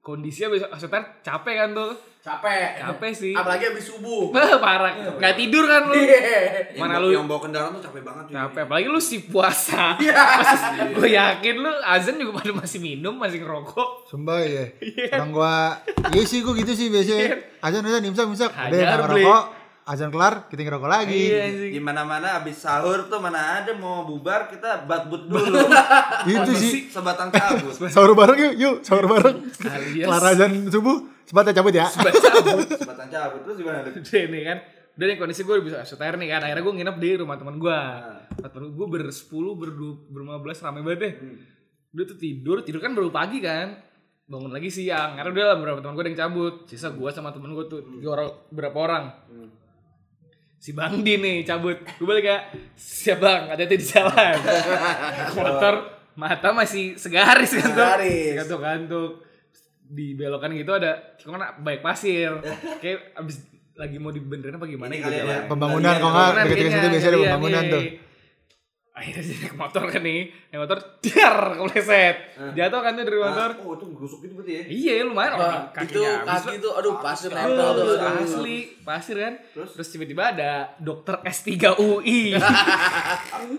Speaker 4: kondisinya besok maksudnya capek kan tuh
Speaker 2: Capek.
Speaker 4: capek sih
Speaker 2: Apalagi habis subuh.
Speaker 4: parah nggak tidur kan lu
Speaker 2: Iya.
Speaker 1: Yang
Speaker 4: Mana
Speaker 1: bawa-
Speaker 4: lu-
Speaker 1: yang bawa kendaraan tuh capek banget. cuy.
Speaker 4: capek apalagi lu si puasa
Speaker 3: Iya.
Speaker 4: gue yakin lu azan juga pada masih minum masih ngerokok
Speaker 3: Sumpah
Speaker 1: Iya.
Speaker 3: ya. Orang gua iya sih gua gitu sih biasanya. Azan azan imsak imsak. Udah
Speaker 4: Hajar,
Speaker 3: nggak
Speaker 4: Bli.
Speaker 3: ngerokok. Azan kelar kita ngerokok lagi.
Speaker 4: iya sih
Speaker 1: Di mana-mana abis sahur tuh mana ada mau bubar kita batbut dulu.
Speaker 3: Itu Gitu sih.
Speaker 1: Sebatang kabut.
Speaker 3: Sahur bareng yuk, yuk sahur bareng.
Speaker 4: Alias-
Speaker 3: Kelar azan subuh, sebentar cabut ya.
Speaker 1: Sebatang cabut terus gimana tuh?
Speaker 4: udah nih kan udah nih kondisi gue bisa asoter nih kan akhirnya gue nginep di rumah teman gue rumah temen gue bersepuluh berdua berlima belas rame banget deh udah tuh tidur tidur kan baru pagi kan bangun lagi siang karena udah lah beberapa teman gue ada yang cabut sisa gue sama temen gue tuh tiga orang berapa orang si Bang Di nih cabut gue balik ya siap bang hati-hati di jalan motor mata masih segaris kan tuh
Speaker 2: Segaris.
Speaker 4: kantuk-kantuk di belokan gitu ada kan baik pasir kayak abis lagi mau dibenerin apa gimana
Speaker 2: Iya,
Speaker 1: Ini
Speaker 4: gitu
Speaker 1: kali ada
Speaker 4: jalan.
Speaker 3: Pembangunan kok nggak dekat-dekat Ah,
Speaker 4: Pembangunan
Speaker 3: situ
Speaker 4: kayaknya,
Speaker 3: biasanya ada
Speaker 4: kalian
Speaker 3: pembangunan
Speaker 4: nih.
Speaker 3: tuh.
Speaker 4: Iya, akhirnya jadi naik motor kan nih naik motor tiar kepleset
Speaker 2: Ah.
Speaker 4: jatuh kan tuh dari motor
Speaker 1: Ah, oh itu gerusuk gitu berarti ya.
Speaker 4: iya lumayan orang
Speaker 2: Wah, Ah, itu
Speaker 4: kakinya habis
Speaker 2: kaki tuh aduh pasir
Speaker 4: Aduh,
Speaker 2: nempel tuh. aduh.
Speaker 4: asli pasir kan terus, tiba-tiba ada dokter S3 UI
Speaker 1: A-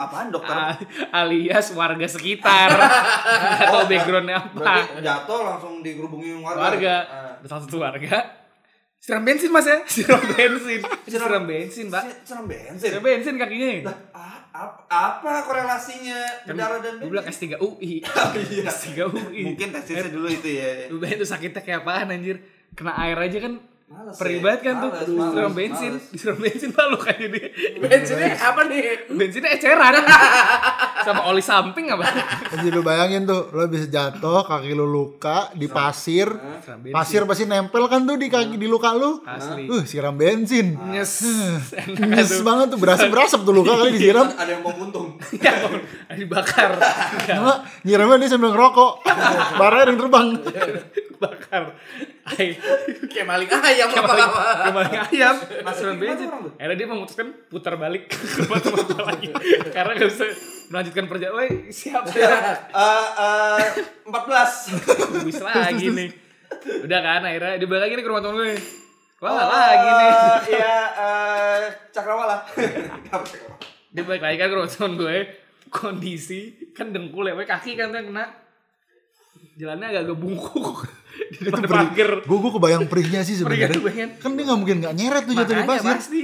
Speaker 1: Apaan dokter?
Speaker 4: A- alias warga sekitar nggak tahu backgroundnya apa
Speaker 1: Berarti jatuh langsung digerubungin warga.
Speaker 4: warga
Speaker 1: Ah.
Speaker 4: ada salah satu warga siram bensin mas ya siram bensin siram bensin mbak
Speaker 1: Si- Serem bensin.
Speaker 4: siram bensin kakinya
Speaker 1: Lah, a- ap- apa korelasinya
Speaker 4: Kan
Speaker 1: berdarah dan
Speaker 4: gue bilang S3 UI
Speaker 1: Iya.
Speaker 4: S3 UI
Speaker 1: Mungkin tesisnya dulu itu ya.
Speaker 4: Eh, Lu bayangin tuh sakitnya kayak apaan anjir Kena air aja kan
Speaker 1: Males,
Speaker 4: perih
Speaker 1: ya.
Speaker 4: banget kan tuh
Speaker 1: Males, males,
Speaker 4: Disiram bensin
Speaker 1: males.
Speaker 4: Disiram bensin malu kan jadi
Speaker 2: Bensinnya apa nih?
Speaker 4: Bensinnya eceran Sama oli samping apa
Speaker 3: Jadi lu bayangin tuh, lu bisa jatuh, kaki lu luka di pasir.
Speaker 4: Disiram bensin
Speaker 3: Pasir pasti nempel kan tuh di kaki di luka lu.
Speaker 4: Iya. Asli Ah.
Speaker 3: Uh, siram bensin.
Speaker 4: Nyes Enak
Speaker 3: Nyes
Speaker 4: tuh.
Speaker 3: banget tuh, berasap-berasap tuh luka kali disiram.
Speaker 1: Ada yang mau untung.
Speaker 4: Ya ampun, Dibakar Iya.
Speaker 3: Cuma nyiramnya dia sambil ngerokok. Barang yang terbang.
Speaker 4: Iya. Dibakar Air
Speaker 2: Kayak maling ayam apa apa.
Speaker 4: Kembali ayam
Speaker 1: Mas,
Speaker 4: Disiram
Speaker 1: gimana
Speaker 4: bensin
Speaker 1: orang tuh?
Speaker 4: Akhirnya dia memutuskan putar balik ke rumah teman gua lagi Karena gak bisa melanjutkan perjalanan Woi, siap siap
Speaker 1: Eh, eh, 14.
Speaker 4: Bus lagi nih. Udah kan akhirnya dia balik lagi nih ke rumah temen gue. Wah lagi nih.
Speaker 1: Eh, Ya, eh, cakrawala. Apa cakrawala?
Speaker 4: Dia balik lagi kan ke rumah temen gue. Kondisi kan dengkul ya, weh, kaki kan tuh yang kena. Jalannya agak agak bungkuk di depan parkir.
Speaker 3: Gue gue kebayang perihnya sih
Speaker 4: Perikatan
Speaker 3: sebenarnya.
Speaker 4: pengen.
Speaker 3: Kan dia nggak mungkin nggak nyeret tuh jatuh di
Speaker 4: Makanya
Speaker 3: pasir.
Speaker 4: pasti.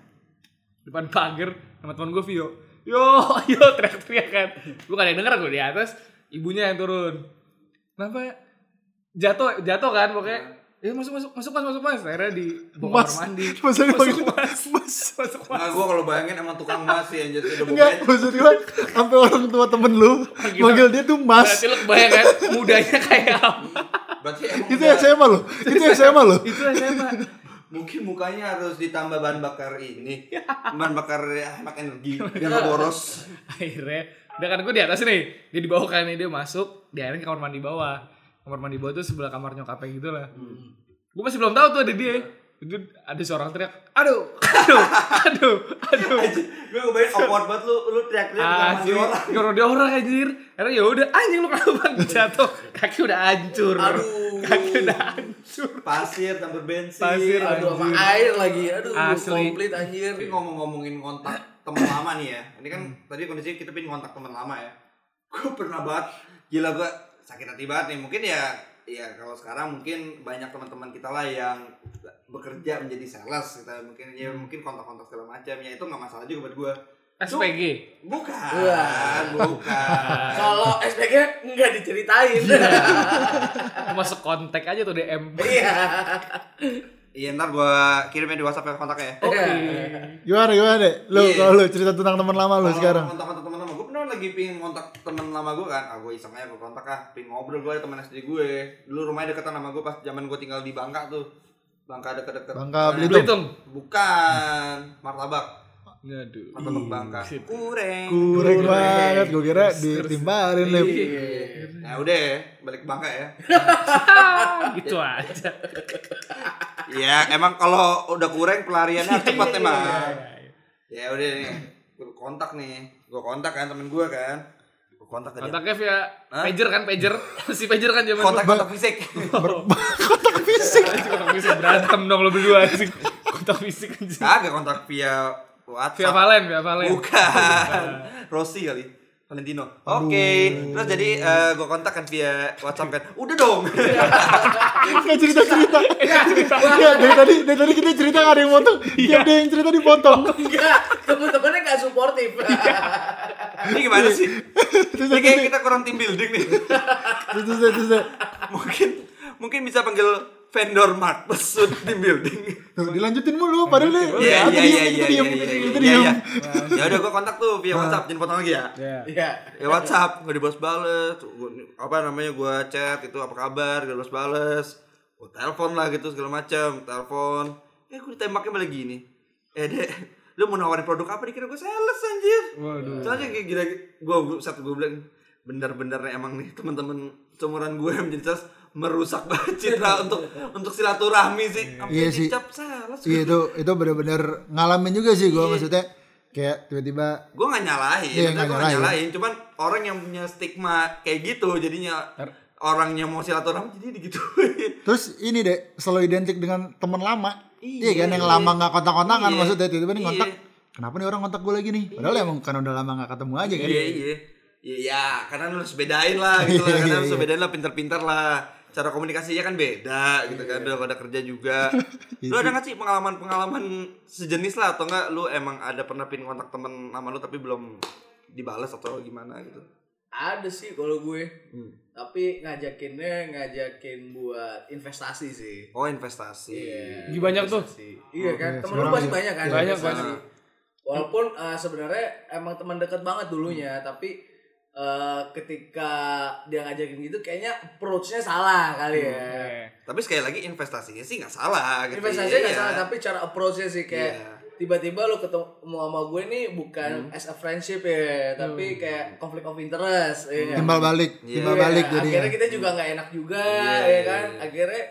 Speaker 4: depan pagar sama teman gue Vio. Yo, yo teriak-teriak kan. Gue gak ada yang denger gue di atas. Ibunya yang turun. Kenapa? ya? Jatuh, jatuh kan pokoknya. Eh masuk masuk masuk mas masuk mas. Akhirnya di bawah
Speaker 3: Mas.
Speaker 4: kamar mandi.
Speaker 3: Mas, ada panggil-
Speaker 4: mas. Masuk mas.
Speaker 1: Nah, gue kalau bayangin emang tukang mas sih yang jadi udah
Speaker 3: Enggak, maksud gue sampai orang tua temen lu manggil dia tuh mas.
Speaker 4: Berarti lu kebayang kan mudanya kayak apa?
Speaker 1: Berarti emang
Speaker 3: Itu
Speaker 1: udah-
Speaker 3: SMA lo, itu SMA lo.
Speaker 4: Itu SMA.
Speaker 1: mungkin mukanya harus ditambah bahan bakar ini. Bahan bakar ya, hemat energi biar nggak boros.
Speaker 4: Akhirnya, udah kan gue di atas nih. Dia di bawah kan nih, dia masuk, dia akhirnya ke kamar mandi bawah. Kamar mandi bawah tuh sebelah kamar nyokapnya gitu lah.
Speaker 2: Hmm.
Speaker 4: Gue masih belum tahu tuh ada dia. Itu ada seorang teriak, aduh, aduh, aduh, aduh. Ah,
Speaker 1: Gue ngebayangin awkward banget lu lu teriak-teriak di kamar mandi
Speaker 4: Anjir,
Speaker 1: orang.
Speaker 4: kalau dia orang anjir. Karena ya udah anjing lu kenapa Bang? jatuh, kaki udah hancur.
Speaker 2: Aduh.
Speaker 4: Kaki udah hancur.
Speaker 1: Pasir campur bensin.
Speaker 4: Pasir,
Speaker 1: Aduh,
Speaker 2: Aduh sama air lagi. Aduh
Speaker 4: Asli.
Speaker 2: komplit anjir.
Speaker 1: Tapi ngomong-ngomongin kontak teman lama nih ya. Ini kan tadi kondisi kita pin kontak teman lama ya. Gue pernah banget gila gue sakit hati banget nih. Mungkin ya ya kalau sekarang mungkin banyak teman-teman kita lah yang bekerja menjadi sales kita mungkin ya mungkin kontak-kontak segala macam ya itu nggak masalah juga buat gue
Speaker 4: SPG.
Speaker 1: bukan
Speaker 2: Wah.
Speaker 1: bukan
Speaker 2: Kalau SPG nggak diceritain.
Speaker 4: Iya. Masuk kontak aja tuh DM.
Speaker 2: Iya.
Speaker 1: iya ntar gue kirimnya di WhatsApp ya kontaknya ya
Speaker 3: Gimana gimana deh? Lu
Speaker 1: Iya.
Speaker 3: kalau lu cerita tentang teman lama lu
Speaker 1: Kalau
Speaker 3: sekarang.
Speaker 1: kontak-kontak teman lama gue pernah lagi pingin kontak teman lama gue kan ah gue iseng aja gue kontak ah pingin ngobrol gue ada teman SD gue dulu rumahnya deketan sama gue pas zaman gue tinggal di Bangka tuh Bangka deket-deket
Speaker 3: Bangka
Speaker 1: Nah,
Speaker 3: Belitung.
Speaker 4: Belitung.
Speaker 1: bukan martabak
Speaker 4: Aduh.
Speaker 1: martabak Bangka kureng
Speaker 3: Kurang
Speaker 4: Kurang.
Speaker 3: banget, gue kira ditimbalin deh.
Speaker 1: ya udah ya, balik ke Bangka ya
Speaker 4: gitu aja.
Speaker 1: ya emang kalau udah kureng pelariannya harus cepat
Speaker 3: Iya,
Speaker 4: Iya,
Speaker 1: emang ya udah nih gue kontak nih gue kontak kan temen gue kan gue kontak ke dia.
Speaker 4: Kontaknya via pager kan pager. Si pager kan zaman
Speaker 1: Kontak kontak fisik.
Speaker 4: Anjing, kontak fisik berantem dong lo berdua anjing. Kontak fisik anjing.
Speaker 1: Kagak kontak via WhatsApp.
Speaker 4: Via Valen, via Valen.
Speaker 1: Bukan. Rossi kali. Valentino. Oke. Terus jadi eh, gua kontak kan via WhatsApp kan. Udah dong.
Speaker 3: Nggak cerita cerita. Iya dari tadi dari tadi kita cerita nggak ada yang potong.
Speaker 1: Iya.
Speaker 3: Tiap ada yang cerita dipotong.
Speaker 2: Enggak, temen-temennya gak suportif.
Speaker 1: Ini gimana sih? Ini kayak kita kurang team building nih.
Speaker 3: Terus terus terus, terus.
Speaker 1: mungkin mungkin bisa panggil vendor Mark Pesut team building.
Speaker 3: Tuh, dilanjutin mulu padahal nih.
Speaker 1: Iya iya
Speaker 3: kita
Speaker 1: iya
Speaker 3: diem,
Speaker 1: iya
Speaker 3: kita diem,
Speaker 1: iya, iya, iya,
Speaker 3: kita diem.
Speaker 1: iya. Ya udah gua kontak tuh via WhatsApp, jangan potong lagi ya.
Speaker 4: Ya.
Speaker 2: Iya.
Speaker 1: Ya WhatsApp, gua dibalas balas, apa namanya gua chat itu apa kabar, gak dibalas balas. Gua telepon lah gitu segala macam, telepon. Eh gua ditembaknya malah gini. Eh dek, lu mau nawarin produk apa dikira gua sales anjir.
Speaker 4: Waduh.
Speaker 1: Soalnya kayak gila gua gua- satu gua bilang bener-bener emang nih teman-teman seumuran gue yang menjadi sales merusak banget citra untuk untuk silaturahmi sih. Sampai
Speaker 3: Iya sih.
Speaker 1: dicap sales.
Speaker 3: Iya itu itu benar-benar ngalamin juga sih
Speaker 1: Iya.
Speaker 3: gue maksudnya kayak tiba-tiba
Speaker 1: gue gak nyalahin,
Speaker 3: Iya,
Speaker 1: maksudnya gua
Speaker 3: nggak
Speaker 1: nggak
Speaker 3: nyalahin.
Speaker 1: nyalahin. Cuman orang yang punya stigma kayak gitu jadinya orang yang mau silaturahmi jadi digituin.
Speaker 3: terus ini deh selalu identik dengan teman lama.
Speaker 1: Iya,
Speaker 3: Iya, kan yang
Speaker 1: iya.
Speaker 3: lama nggak kontak-kontakan
Speaker 1: Iya.
Speaker 3: maksudnya tiba-tiba nih
Speaker 1: Iya.
Speaker 3: kontak. Kenapa nih orang kontak gue lagi nih? Padahal emang kan udah lama nggak ketemu aja kan.
Speaker 1: Iya iya. Iya, ya, karena lu harus bedain lah gitu lah,
Speaker 3: Iya,
Speaker 1: karena
Speaker 3: iya,
Speaker 1: harus
Speaker 3: iya.
Speaker 1: bedain lah pintar-pintar lah. Cara komunikasinya kan beda gitu
Speaker 3: Iya.
Speaker 1: kan, udah pada kerja juga. lu ada gak sih pengalaman-pengalaman sejenis lah atau enggak lu emang ada pernah pin kontak temen sama lu tapi belum dibalas atau gimana gitu.
Speaker 2: Ada sih kalau gue.
Speaker 1: Hmm.
Speaker 2: Tapi ngajakinnya ngajakin buat investasi sih.
Speaker 1: Oh, investasi.
Speaker 2: Iya.
Speaker 4: Gih, banyak tuh.
Speaker 2: investasi. Iya kan,
Speaker 3: Oke,
Speaker 2: temen lu
Speaker 3: sekarang
Speaker 2: pasti
Speaker 3: iya.
Speaker 2: banyak kan.
Speaker 4: Banyak,
Speaker 2: investasi.
Speaker 1: banyak.
Speaker 2: Walaupun eh, sebenarnya emang teman dekat banget dulunya, tapi eh, ketika dia ngajakin gitu kayaknya approach-nya salah kali ya.
Speaker 4: Hmm. Eh,
Speaker 1: Tapi sekali lagi investasinya sih nggak salah gitu.
Speaker 2: Investasinya nggak
Speaker 1: Iya.
Speaker 2: salah, tapi cara approach-nya sih kayak
Speaker 1: Iya. Hmm.
Speaker 2: tiba-tiba lu ketemu sama gue nih bukan as a friendship ya, tapi kayak konflik of interest. Iya. kan?
Speaker 3: Timbal balik,
Speaker 1: Iya.
Speaker 3: timbal
Speaker 2: Iya,
Speaker 3: balik jadi.
Speaker 2: akhirnya kita juga nggak enak juga
Speaker 1: Iya,
Speaker 2: ya kan
Speaker 1: iya.
Speaker 2: akhirnya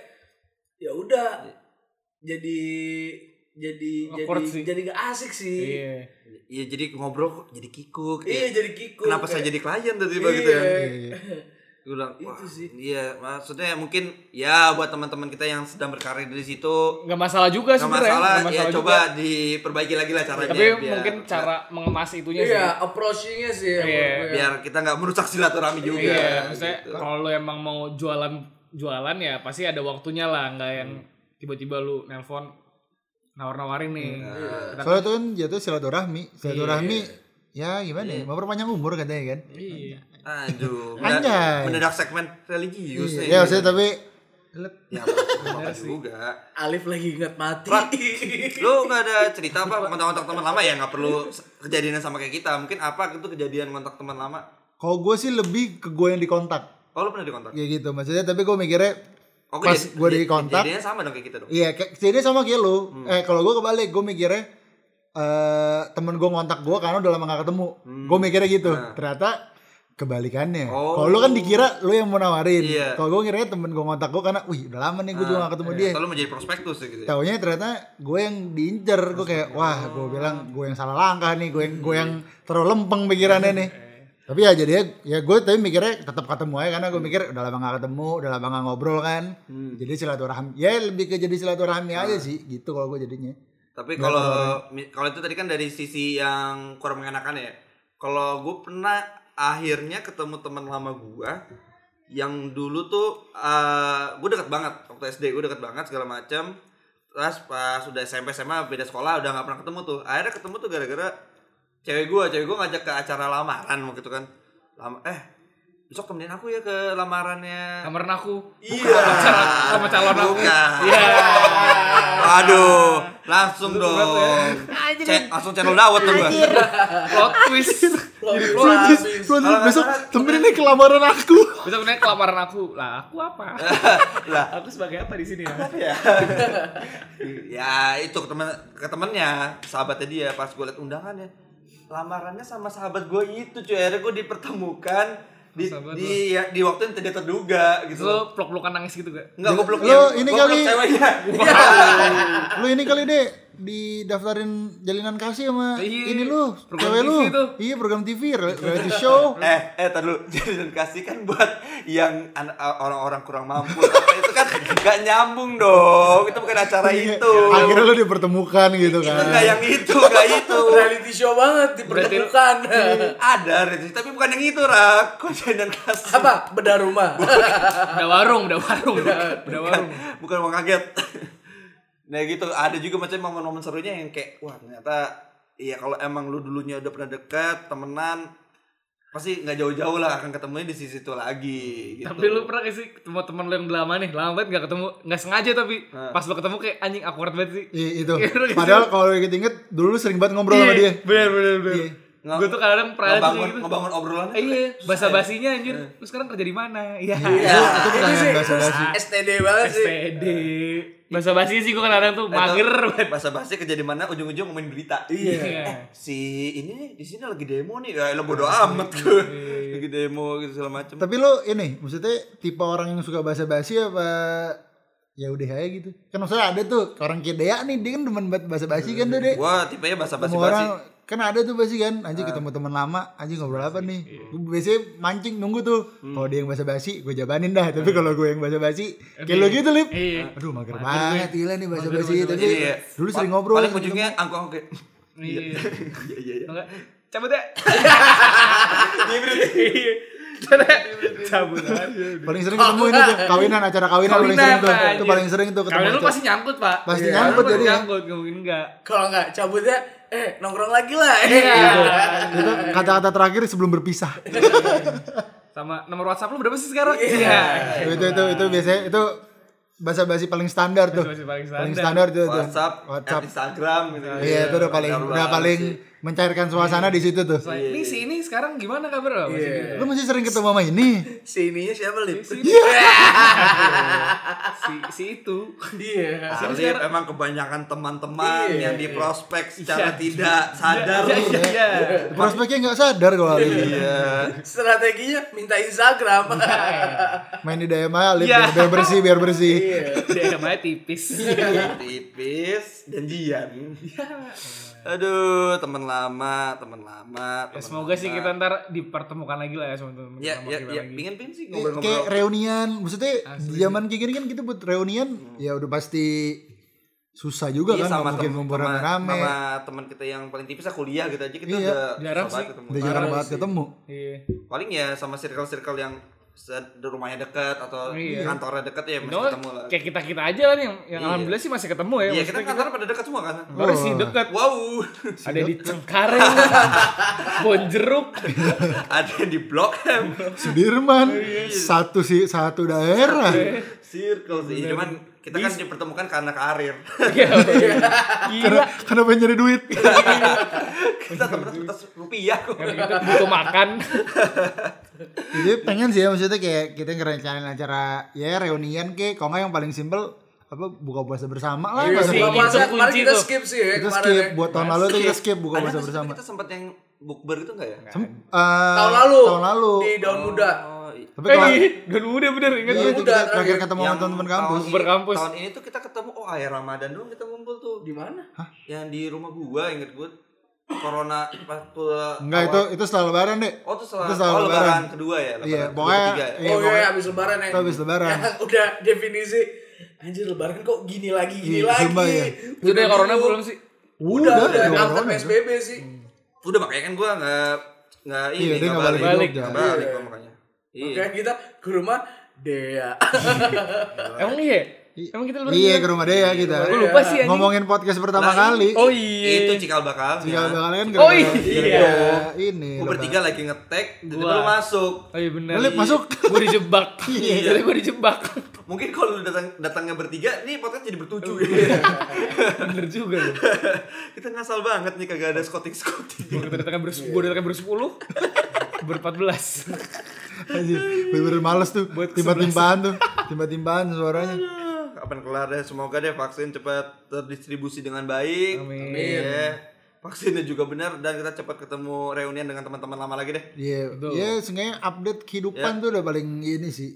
Speaker 2: ya udah jadi jadi
Speaker 4: Awkward
Speaker 2: jadi
Speaker 4: sih.
Speaker 2: jadi gak asik sih
Speaker 4: Iya.
Speaker 1: Iya jadi ngobrol kok jadi kikuk.
Speaker 2: iya
Speaker 1: Iya.
Speaker 2: jadi kikuk
Speaker 1: Kenapa saya
Speaker 2: kayak-
Speaker 1: jadi klien tadi tiba gitu
Speaker 2: Iya.
Speaker 1: ya?
Speaker 3: Iya.
Speaker 1: Gue bilang,
Speaker 2: Itu
Speaker 1: "Wah,
Speaker 2: sih.
Speaker 1: Iya, maksudnya mungkin ya buat teman-teman kita yang sedang berkarir di situ
Speaker 4: Nggak masalah
Speaker 1: nggak
Speaker 4: juga Iya, sebenarnya.
Speaker 1: masalah,
Speaker 4: nggak
Speaker 1: ya
Speaker 4: masalah
Speaker 1: coba
Speaker 4: juga.
Speaker 1: diperbaiki lagi lah caranya.
Speaker 4: Tapi
Speaker 1: biar-
Speaker 4: mungkin cara mengemas itunya sih.
Speaker 2: iya approachingnya sih
Speaker 4: Iya,
Speaker 2: emang.
Speaker 1: biar kita nggak merusak silaturahmi juga.
Speaker 4: Iya, maksudnya
Speaker 1: gitu.
Speaker 4: kalau lu emang mau jualan jualan ya pasti ada waktunya lah, nggak yang
Speaker 1: Hmm.
Speaker 4: tiba-tiba lu nelpon nawar-nawarin nih.
Speaker 1: Iya.
Speaker 3: Soalnya tuh kan jatuh silaturahmi, silaturahmi
Speaker 1: Iya.
Speaker 3: ya gimana ya, memperpanjang umur katanya kan.
Speaker 4: Iya.
Speaker 1: Aduh,
Speaker 3: Anjay.
Speaker 1: mendadak- mendadak segmen religius nih.
Speaker 3: Iya, maksudnya tapi
Speaker 1: Ya, apa juga.
Speaker 2: Alif lagi ingat mati
Speaker 1: lu nggak ada cerita apa kontak-kontak teman lama ya nggak perlu kejadian yang sama kayak kita mungkin apa itu kejadian kontak teman lama
Speaker 3: kalau gue sih lebih ke gue yang dikontak
Speaker 1: oh lu pernah dikontak
Speaker 3: kayak gitu. Maksudnya tapi gue mikirnya
Speaker 1: oh,
Speaker 3: pas
Speaker 1: kejadian-
Speaker 3: gue dikontak,
Speaker 1: kejadiannya sama dong kayak kita gitu dong Hmm.
Speaker 3: iya kayak jadi sama kayak lu. Eh kalau gue kebalik, gue mikirnya eh temen gue ngontak gue karena udah lama gak ketemu. Gue mikirnya gitu. Ternyata
Speaker 1: Hmm.
Speaker 3: kebalikannya.
Speaker 1: Nah. Oh.
Speaker 3: Kalau lu kan dikira lu yang mau nawarin.
Speaker 1: Iya. Nah,
Speaker 3: Kalau gue ngiranya temen gue ngontak gue karena, wih udah lama nih gue juga gak ketemu iya, dia.
Speaker 1: selalu menjadi prospektus ya gitu
Speaker 4: Iya.
Speaker 1: ya.
Speaker 3: Taunya ternyata gue yang diincer, gue kayak wah gue bilang gue yang salah langkah nih, gue yang gue yang
Speaker 4: Hmm.
Speaker 3: terlalu lempeng pikirannya
Speaker 4: Eh,
Speaker 3: nih. Tapi ya jadinya ya gue tapi mikirnya tetap ketemu aja karena
Speaker 4: Hmm.
Speaker 3: gue mikir udah lama gak ketemu, udah lama gak ngobrol kan. Jadi silaturahmi, ya lebih ke jadi silaturahmi aja
Speaker 4: Nah.
Speaker 3: sih gitu kalau gue jadinya.
Speaker 1: tapi kalau mi- kalau itu tadi kan dari sisi yang kurang mengenakan ya kalau gue pernah akhirnya ketemu teman lama gua yang dulu tuh gue deket banget waktu SD gue deket banget segala macam terus pas udah SMP SMA beda sekolah udah nggak pernah ketemu tuh akhirnya ketemu tuh gara-gara cewek gue cewek gue ngajak ke acara lamaran gitu kan Lama, eh besok temenin aku ya ke lamarannya
Speaker 4: Kamarin aku.
Speaker 1: iya
Speaker 4: sama calon aku.
Speaker 1: Bukan.
Speaker 4: Iya.
Speaker 1: Aduh, langsung dong.
Speaker 4: ya?
Speaker 1: Chat, langsung channel dawet tuh gua.
Speaker 4: Plot twist.
Speaker 2: Plot
Speaker 3: Gua
Speaker 2: twist.
Speaker 3: terus- gua terus besok temenin nih kelamaran aku.
Speaker 4: Bisa menanya kelaparan aku. Lah, aku apa?
Speaker 1: Lah.
Speaker 4: aku sebagai apa di sini ya?
Speaker 1: Ya, itu ke temen ke temennya, sahabatnya dia pas gue liat undangannya. Lamarannya sama sahabat gue itu, cuy. Akhirnya gue dipertemukan di
Speaker 4: Sahabat
Speaker 1: di ya, di waktu yang tidak terduga
Speaker 4: Terus
Speaker 1: gitu. iya.
Speaker 4: lu peluk-pelukan nangis gitu gak?
Speaker 1: Enggak gue blok
Speaker 3: Lu
Speaker 1: ya.
Speaker 3: ini
Speaker 1: Gua
Speaker 3: kali-
Speaker 1: blok ceweknya.
Speaker 3: Lu ini kali deh didaftarin jalinan kasih sama
Speaker 4: Iya,
Speaker 3: ini lu,
Speaker 4: program
Speaker 3: cewek lu.
Speaker 4: TV tuh.
Speaker 3: Iya, program TV, re- reality show.
Speaker 1: eh eh tar dulu jajanan kasih kan buat yang an- orang-orang kurang mampu Apa itu kan gak nyambung dong itu bukan acara
Speaker 4: Iya,
Speaker 1: itu
Speaker 3: Akhirnya lu dipertemukan gitu
Speaker 1: itu gak
Speaker 3: kan.
Speaker 1: yang itu gak itu
Speaker 2: reality show banget dipertemukan
Speaker 1: Iya. ada Riz, tapi bukan yang itu rak kok jajanan kasih
Speaker 2: apa bedah rumah
Speaker 4: Udah warung, udah warung. Udah warung.
Speaker 1: bukan mau kaget nah gitu ada juga macam momen-momen serunya yang kayak wah ternyata Iya kalau emang lu dulunya udah pernah dekat temenan pasti nggak jauh-jauh lah akan ketemunya di sisi itu lagi gitu.
Speaker 4: Tapi lu pernah gak sih ketemu temen lu yang udah lama nih, lama banget gak ketemu, gak sengaja tapi
Speaker 1: Hah.
Speaker 4: pas lu ketemu kayak anjing awkward banget sih.
Speaker 3: Iya, itu.
Speaker 4: Iya, udah gitu.
Speaker 3: Padahal kalau inget-inget dulu lu sering banget ngobrol
Speaker 1: Iya.
Speaker 3: sama dia.
Speaker 4: Iya, Bener bener bener.
Speaker 3: Iya.
Speaker 1: Nge-
Speaker 4: Gue tuh kadang pernah aja
Speaker 1: ngebangun,
Speaker 4: kayak gitu.
Speaker 1: ngebangun obrolan
Speaker 4: Eh, Iya, bahasa basinya anjir. Lu sekarang kerja di mana? Iya.
Speaker 3: Itu pertanyaan basa-basi.
Speaker 2: STD banget sih
Speaker 4: SPD. Bahasa basinya sih gue kadang tuh mager banget.
Speaker 1: bahasa basi Eh, kerja di mana ujung-ujung ngomongin berita
Speaker 4: Iya.
Speaker 1: si ini nih di sini lagi demo nih ya lo bodo
Speaker 3: Iya.
Speaker 1: amat gue lagi demo gitu segala macem
Speaker 3: Tapi lu ini maksudnya tipe orang yang suka bahasa basi apa ya udah aja gitu. Kan maksudnya ada tuh orang kedea nih dia kan demen banget bahasa basi kan tuh deh.
Speaker 1: wah tipenya bahasa basi
Speaker 3: Ketemu
Speaker 1: basi
Speaker 3: orang kan ada tuh basi kan anjing
Speaker 1: Ah.
Speaker 3: ketemu teman lama anjing ngobrol apa nih
Speaker 1: Iya.
Speaker 3: Gua biasanya mancing nunggu tuh
Speaker 1: Hmm.
Speaker 3: kalau dia yang bahasa basi gue jabanin dah tapi kalau gue yang bahasa basi kayak lo gitu lip
Speaker 4: Iya.
Speaker 3: aduh mager banget gila nih bahasa basi tapi
Speaker 1: Iya, iya.
Speaker 3: dulu sering
Speaker 1: Pa-
Speaker 3: ngobrol gitu.
Speaker 1: paling ujungnya angkong angkong
Speaker 4: Iya.
Speaker 1: iya iya iya
Speaker 4: Enggak. Cabut ya. Iya. Cabut ya. Cabut aja.
Speaker 3: paling sering ketemu ini tuh kawinan acara kawinan, paling sering tuh itu paling sering tuh ketemu
Speaker 4: Kalau Ah. lu
Speaker 3: acara.
Speaker 4: pasti nyangkut, Pak.
Speaker 3: Pasti
Speaker 4: Iya.
Speaker 3: nyangkut
Speaker 4: Pasti
Speaker 3: jadi ya.
Speaker 4: Nyangkut, nggak mungkin enggak.
Speaker 2: kalau nggak cabutnya eh nongkrong lagi lah Iya.
Speaker 3: itu kata-kata terakhir sebelum berpisah
Speaker 4: Sama nomor WhatsApp lu berapa sih sekarang?
Speaker 2: Iya.
Speaker 3: itu itu itu, biasanya itu bahasa basi paling standar tuh
Speaker 4: Bahasa-basi Iya. paling
Speaker 3: paling
Speaker 4: standar.
Speaker 3: standar itu tuh
Speaker 1: WhatsApp,
Speaker 3: WhatsApp
Speaker 1: Instagram gitu
Speaker 3: iya itu udah paling
Speaker 1: Baru
Speaker 3: udah
Speaker 1: banget
Speaker 3: paling
Speaker 1: sih.
Speaker 3: mencairkan suasana di situ tuh
Speaker 4: Selain ini si ini sekarang gimana kabar? Masih gitu.
Speaker 3: lu masih sering ketemu sama ini
Speaker 2: si ininya siapa lip
Speaker 4: Si, si, si itu.
Speaker 2: iya
Speaker 1: Alif Nah, emang kebanyakan teman-teman
Speaker 3: Iya,
Speaker 1: yang diprospek secara tidak sadar
Speaker 4: Iya, iya, iya.
Speaker 3: prospeknya nggak sadar kalau hari ini.
Speaker 1: iya
Speaker 2: strateginya minta Instagram Iya.
Speaker 3: main di daya maya Lip,
Speaker 4: Iya.
Speaker 3: biar, biar bersih biar bersih
Speaker 1: Iya.
Speaker 4: Daerahnya tipis.
Speaker 1: tipis janjian
Speaker 3: Iya.
Speaker 1: aduh teman lama teman lama
Speaker 4: Ya,
Speaker 1: teman
Speaker 4: semoga sih kita ntar dipertemukan lagi lah ya sama teman-teman
Speaker 1: ya
Speaker 4: sama
Speaker 1: ya
Speaker 4: kita
Speaker 1: ya
Speaker 4: lagi.
Speaker 1: pingin pingin sih
Speaker 3: Iya, kayak
Speaker 1: ngobrol-ngobrol
Speaker 3: reunian maksudnya di zaman kayak gini kan kita buat reunian ya udah pasti susah juga
Speaker 1: Iya,
Speaker 3: kan nggak mungkin
Speaker 1: tem-
Speaker 3: ngumpul
Speaker 1: sama-
Speaker 3: rame-rame
Speaker 1: sama teman kita yang paling tipis lah kuliah gitu aja kita
Speaker 3: Iya.
Speaker 1: udah
Speaker 4: Jarang
Speaker 1: susah
Speaker 4: sih.
Speaker 1: banget ketemu.
Speaker 3: udah jarang banget ketemu
Speaker 4: Iya.
Speaker 1: paling ya sama circle-circle yang se- di rumahnya dekat atau
Speaker 4: Iya.
Speaker 1: kantornya dekat ya masih
Speaker 4: No,
Speaker 1: ketemu lah
Speaker 4: kayak kita kita aja lah nih, yang, yang alhamdulillah sih masih ketemu ya.
Speaker 1: iya kita
Speaker 4: Maksudnya Hmm.
Speaker 1: kantor pada dekat semua kan
Speaker 4: baru sih
Speaker 3: Oh.
Speaker 4: dekat.
Speaker 1: wow
Speaker 4: Ada di Cengkareng, Bonjeruk,
Speaker 1: ada di blok M
Speaker 3: Sudirman satu sih satu daerah
Speaker 1: circle sih cuman kita kan dipertemukan karena karir
Speaker 4: Iya,
Speaker 3: karena karena pengen nyari duit
Speaker 1: kita temen atas rupiah kok
Speaker 4: Yang gitu butuh makan.
Speaker 3: jadi pengen sih ya maksudnya kayak kita ngerencanain acara ya reunian ke kalau nggak yang paling simpel apa buka puasa bersama lah
Speaker 2: Iya,
Speaker 3: bahasa
Speaker 4: sih.
Speaker 2: buka
Speaker 3: Betawi.
Speaker 2: puasa
Speaker 4: Itu
Speaker 2: kemarin
Speaker 4: kunci
Speaker 2: kita
Speaker 4: tuh.
Speaker 2: skip sih ya
Speaker 3: kita
Speaker 2: kemarin
Speaker 3: skip
Speaker 2: ya.
Speaker 3: buat tahun lalu tuh kita skip buka
Speaker 1: Ada
Speaker 3: puasa
Speaker 1: nggak sih
Speaker 3: bersama
Speaker 1: kita sempat yang bukber gitu enggak ya
Speaker 3: Eh,
Speaker 2: tahun lalu
Speaker 3: tahun lalu
Speaker 2: di daun muda
Speaker 1: Oh, i-
Speaker 3: tapi
Speaker 4: Eh,
Speaker 3: kalau
Speaker 4: iya, dan udah bener ingat
Speaker 3: Iya,
Speaker 4: gue.
Speaker 3: itu
Speaker 2: udah,
Speaker 3: kita terakhir
Speaker 2: terakhir.
Speaker 3: ketemu sama
Speaker 1: yang
Speaker 3: teman-teman kampus.
Speaker 1: tahun-
Speaker 4: Bukber kampus.
Speaker 1: tahun ini tuh kita ketemu oh akhir Ramadan doang kita ngumpul tuh
Speaker 2: di mana
Speaker 1: yang di rumah gua inget gua corona pas gua
Speaker 3: Enggak
Speaker 1: awal-
Speaker 3: itu itu setelah lebaran deh.
Speaker 1: oh itu setelah,
Speaker 3: itu setelah
Speaker 1: oh, lebaran.
Speaker 3: lebaran.
Speaker 1: kedua ya lebaran
Speaker 3: Iya,
Speaker 1: kedua,
Speaker 3: pokoknya
Speaker 1: ketiga ya?
Speaker 3: iya,
Speaker 2: oh
Speaker 3: pokoknya
Speaker 2: iya habis lebaran ya
Speaker 3: itu habis lebaran.
Speaker 2: Yang udah definisi anjir lebaran kok gini lagi gini
Speaker 3: Iya,
Speaker 2: lagi
Speaker 3: Zumba ya.
Speaker 4: Itu udah corona
Speaker 2: gitu.
Speaker 4: belum sih?
Speaker 2: udah udah
Speaker 3: ada
Speaker 2: angkat
Speaker 3: corona itu.
Speaker 2: PSBB sih
Speaker 1: udah makanya kan gua nggak nggak ini
Speaker 3: Iya, dia
Speaker 1: nggak
Speaker 3: nggak balik
Speaker 4: balik.
Speaker 3: Jogja.
Speaker 1: nggak balik gua makanya iya
Speaker 2: kayak kita ke rumah Dea
Speaker 4: Emang iya? Emang kita lebaran
Speaker 3: Iya
Speaker 4: juga?
Speaker 3: ke rumah dia ya kita.
Speaker 4: Gue lupa sih anjing.
Speaker 3: Ngomongin podcast pertama
Speaker 1: Nah,
Speaker 3: kali.
Speaker 4: Oh iya.
Speaker 1: itu cikal bakal
Speaker 3: Tiga bakal Iya, kan
Speaker 4: Oh, iya.
Speaker 3: gara-gara ini.
Speaker 1: gua
Speaker 3: lebaran.
Speaker 1: bertiga lagi ngetek jadi
Speaker 4: Gua.
Speaker 1: belum masuk
Speaker 4: Oh iya benar.
Speaker 3: Lip, masuk.
Speaker 4: Gue dijebak. Iya. Gue dijebak.
Speaker 1: mungkin kalau lu datang datangnya bertiga nih podcast jadi bertujuh
Speaker 3: Iya.
Speaker 4: Bener juga lu.
Speaker 1: kita ngasal banget nih kagak ada scouting scouting
Speaker 4: Gue datangnya ber gue datangnya bersepuluh, berempat belas.
Speaker 3: Anjir, bener-bener males tuh.
Speaker 4: Buat
Speaker 3: Timba-timbaan tuh. Timba-timbaan suaranya.
Speaker 1: kapan kelar deh semoga deh vaksin cepat terdistribusi dengan baik
Speaker 4: Amin.
Speaker 1: Iya. vaksinnya juga benar dan kita cepat ketemu reunian dengan teman-teman lama lagi deh
Speaker 3: Iya,
Speaker 4: Betul.
Speaker 3: iya seenggaknya update kehidupan tuh udah paling ini sih.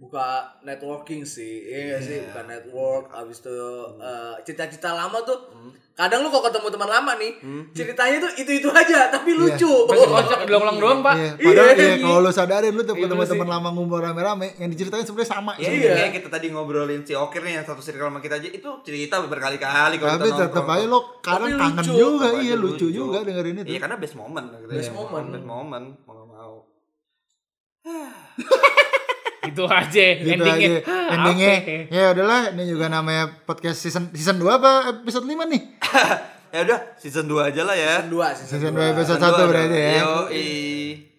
Speaker 2: buka networking sih iya nggak sih buka network abis itu eh, cerita-cerita lama tuh kadang lu kok ketemu teman lama nih ceritanya tuh itu itu aja tapi lucu
Speaker 4: Masih kocak diulang-ulang doang, Pak.
Speaker 3: Iya, padahal
Speaker 2: Iya,
Speaker 3: iya,
Speaker 2: iya.
Speaker 3: kalau lu sadarin lu tuh
Speaker 4: Ah, Iya,
Speaker 3: ketemu
Speaker 4: bener
Speaker 3: teman lama ngumpul rame-rame yang diceritain sebenarnya sama.
Speaker 1: Ya,
Speaker 2: Iya.
Speaker 1: kayak kita tadi ngobrolin si Okir nih yang satu circle sama kita aja itu cerita berkali-kali kalau
Speaker 3: Tapi
Speaker 1: kita
Speaker 3: tetap
Speaker 1: nongkrong.
Speaker 3: aja lo kadang
Speaker 2: Tapi
Speaker 3: kangen
Speaker 2: lucu.
Speaker 3: juga,
Speaker 1: Tetap aja
Speaker 3: iya lucu juga dengerin itu.
Speaker 1: Iya karena best moment gitu
Speaker 2: Best moment.
Speaker 1: Best moment mau nggak mau.
Speaker 4: Itu aja
Speaker 3: Gitu
Speaker 4: endingnya.
Speaker 3: aja.
Speaker 4: Ah,
Speaker 3: Endingnya
Speaker 4: apa ya?
Speaker 3: ya udahlah ini juga namanya podcast season season 2 apa episode 5 nih?
Speaker 1: ya udah season 2 aja lah ya.
Speaker 2: dua season
Speaker 3: Season
Speaker 2: dua.
Speaker 3: 2 episode
Speaker 1: Season dua Iya,
Speaker 3: 1
Speaker 1: ada.
Speaker 3: berarti ya.
Speaker 1: Yoi.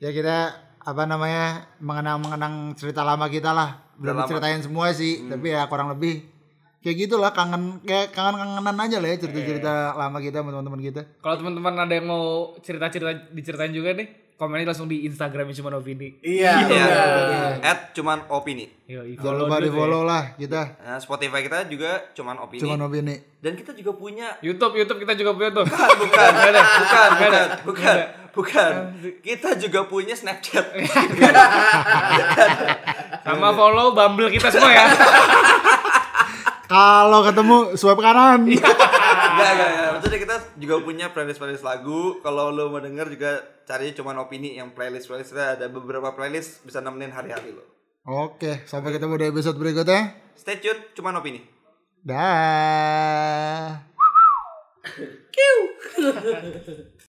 Speaker 3: Ya kita apa namanya mengenang-mengenang cerita lama kita lah.
Speaker 1: Cerita
Speaker 3: Belum
Speaker 1: lama.
Speaker 3: ceritain semua sih, tapi ya kurang lebih kayak gitulah kangen kayak kangen-kangenan aja lah ya cerita-cerita lama kita sama teman-teman kita.
Speaker 4: Kalau teman-teman ada yang mau cerita-cerita diceritain juga nih, komennya langsung di Instagram cuma Novini.
Speaker 1: Iya.
Speaker 2: iya bener.
Speaker 1: At cuman opini.
Speaker 4: Yo,
Speaker 3: Jangan lupa di follow lah kita.
Speaker 1: Nah, Spotify kita juga cuman opini.
Speaker 3: Cuman opini.
Speaker 1: Dan kita juga punya
Speaker 4: YouTube, YouTube kita juga punya tuh.
Speaker 1: bukan bukan
Speaker 4: Nggak ada.
Speaker 1: bukan
Speaker 4: Nggak ada.
Speaker 1: bukan bukan bukan. Kita juga punya Snapchat.
Speaker 4: Sama follow Bumble kita semua ya.
Speaker 3: Kalau ketemu swipe kanan.
Speaker 1: Enggak, enggak, enggak. Maksudnya kita juga punya playlist-playlist lagu. Kalau lo mau denger juga cari cuman opini yang playlist-playlist kita ada beberapa playlist bisa nemenin hari-hari lo.
Speaker 3: Oke, sampai ketemu di episode berikutnya.
Speaker 1: Stay tune cuman opini.
Speaker 3: Dah.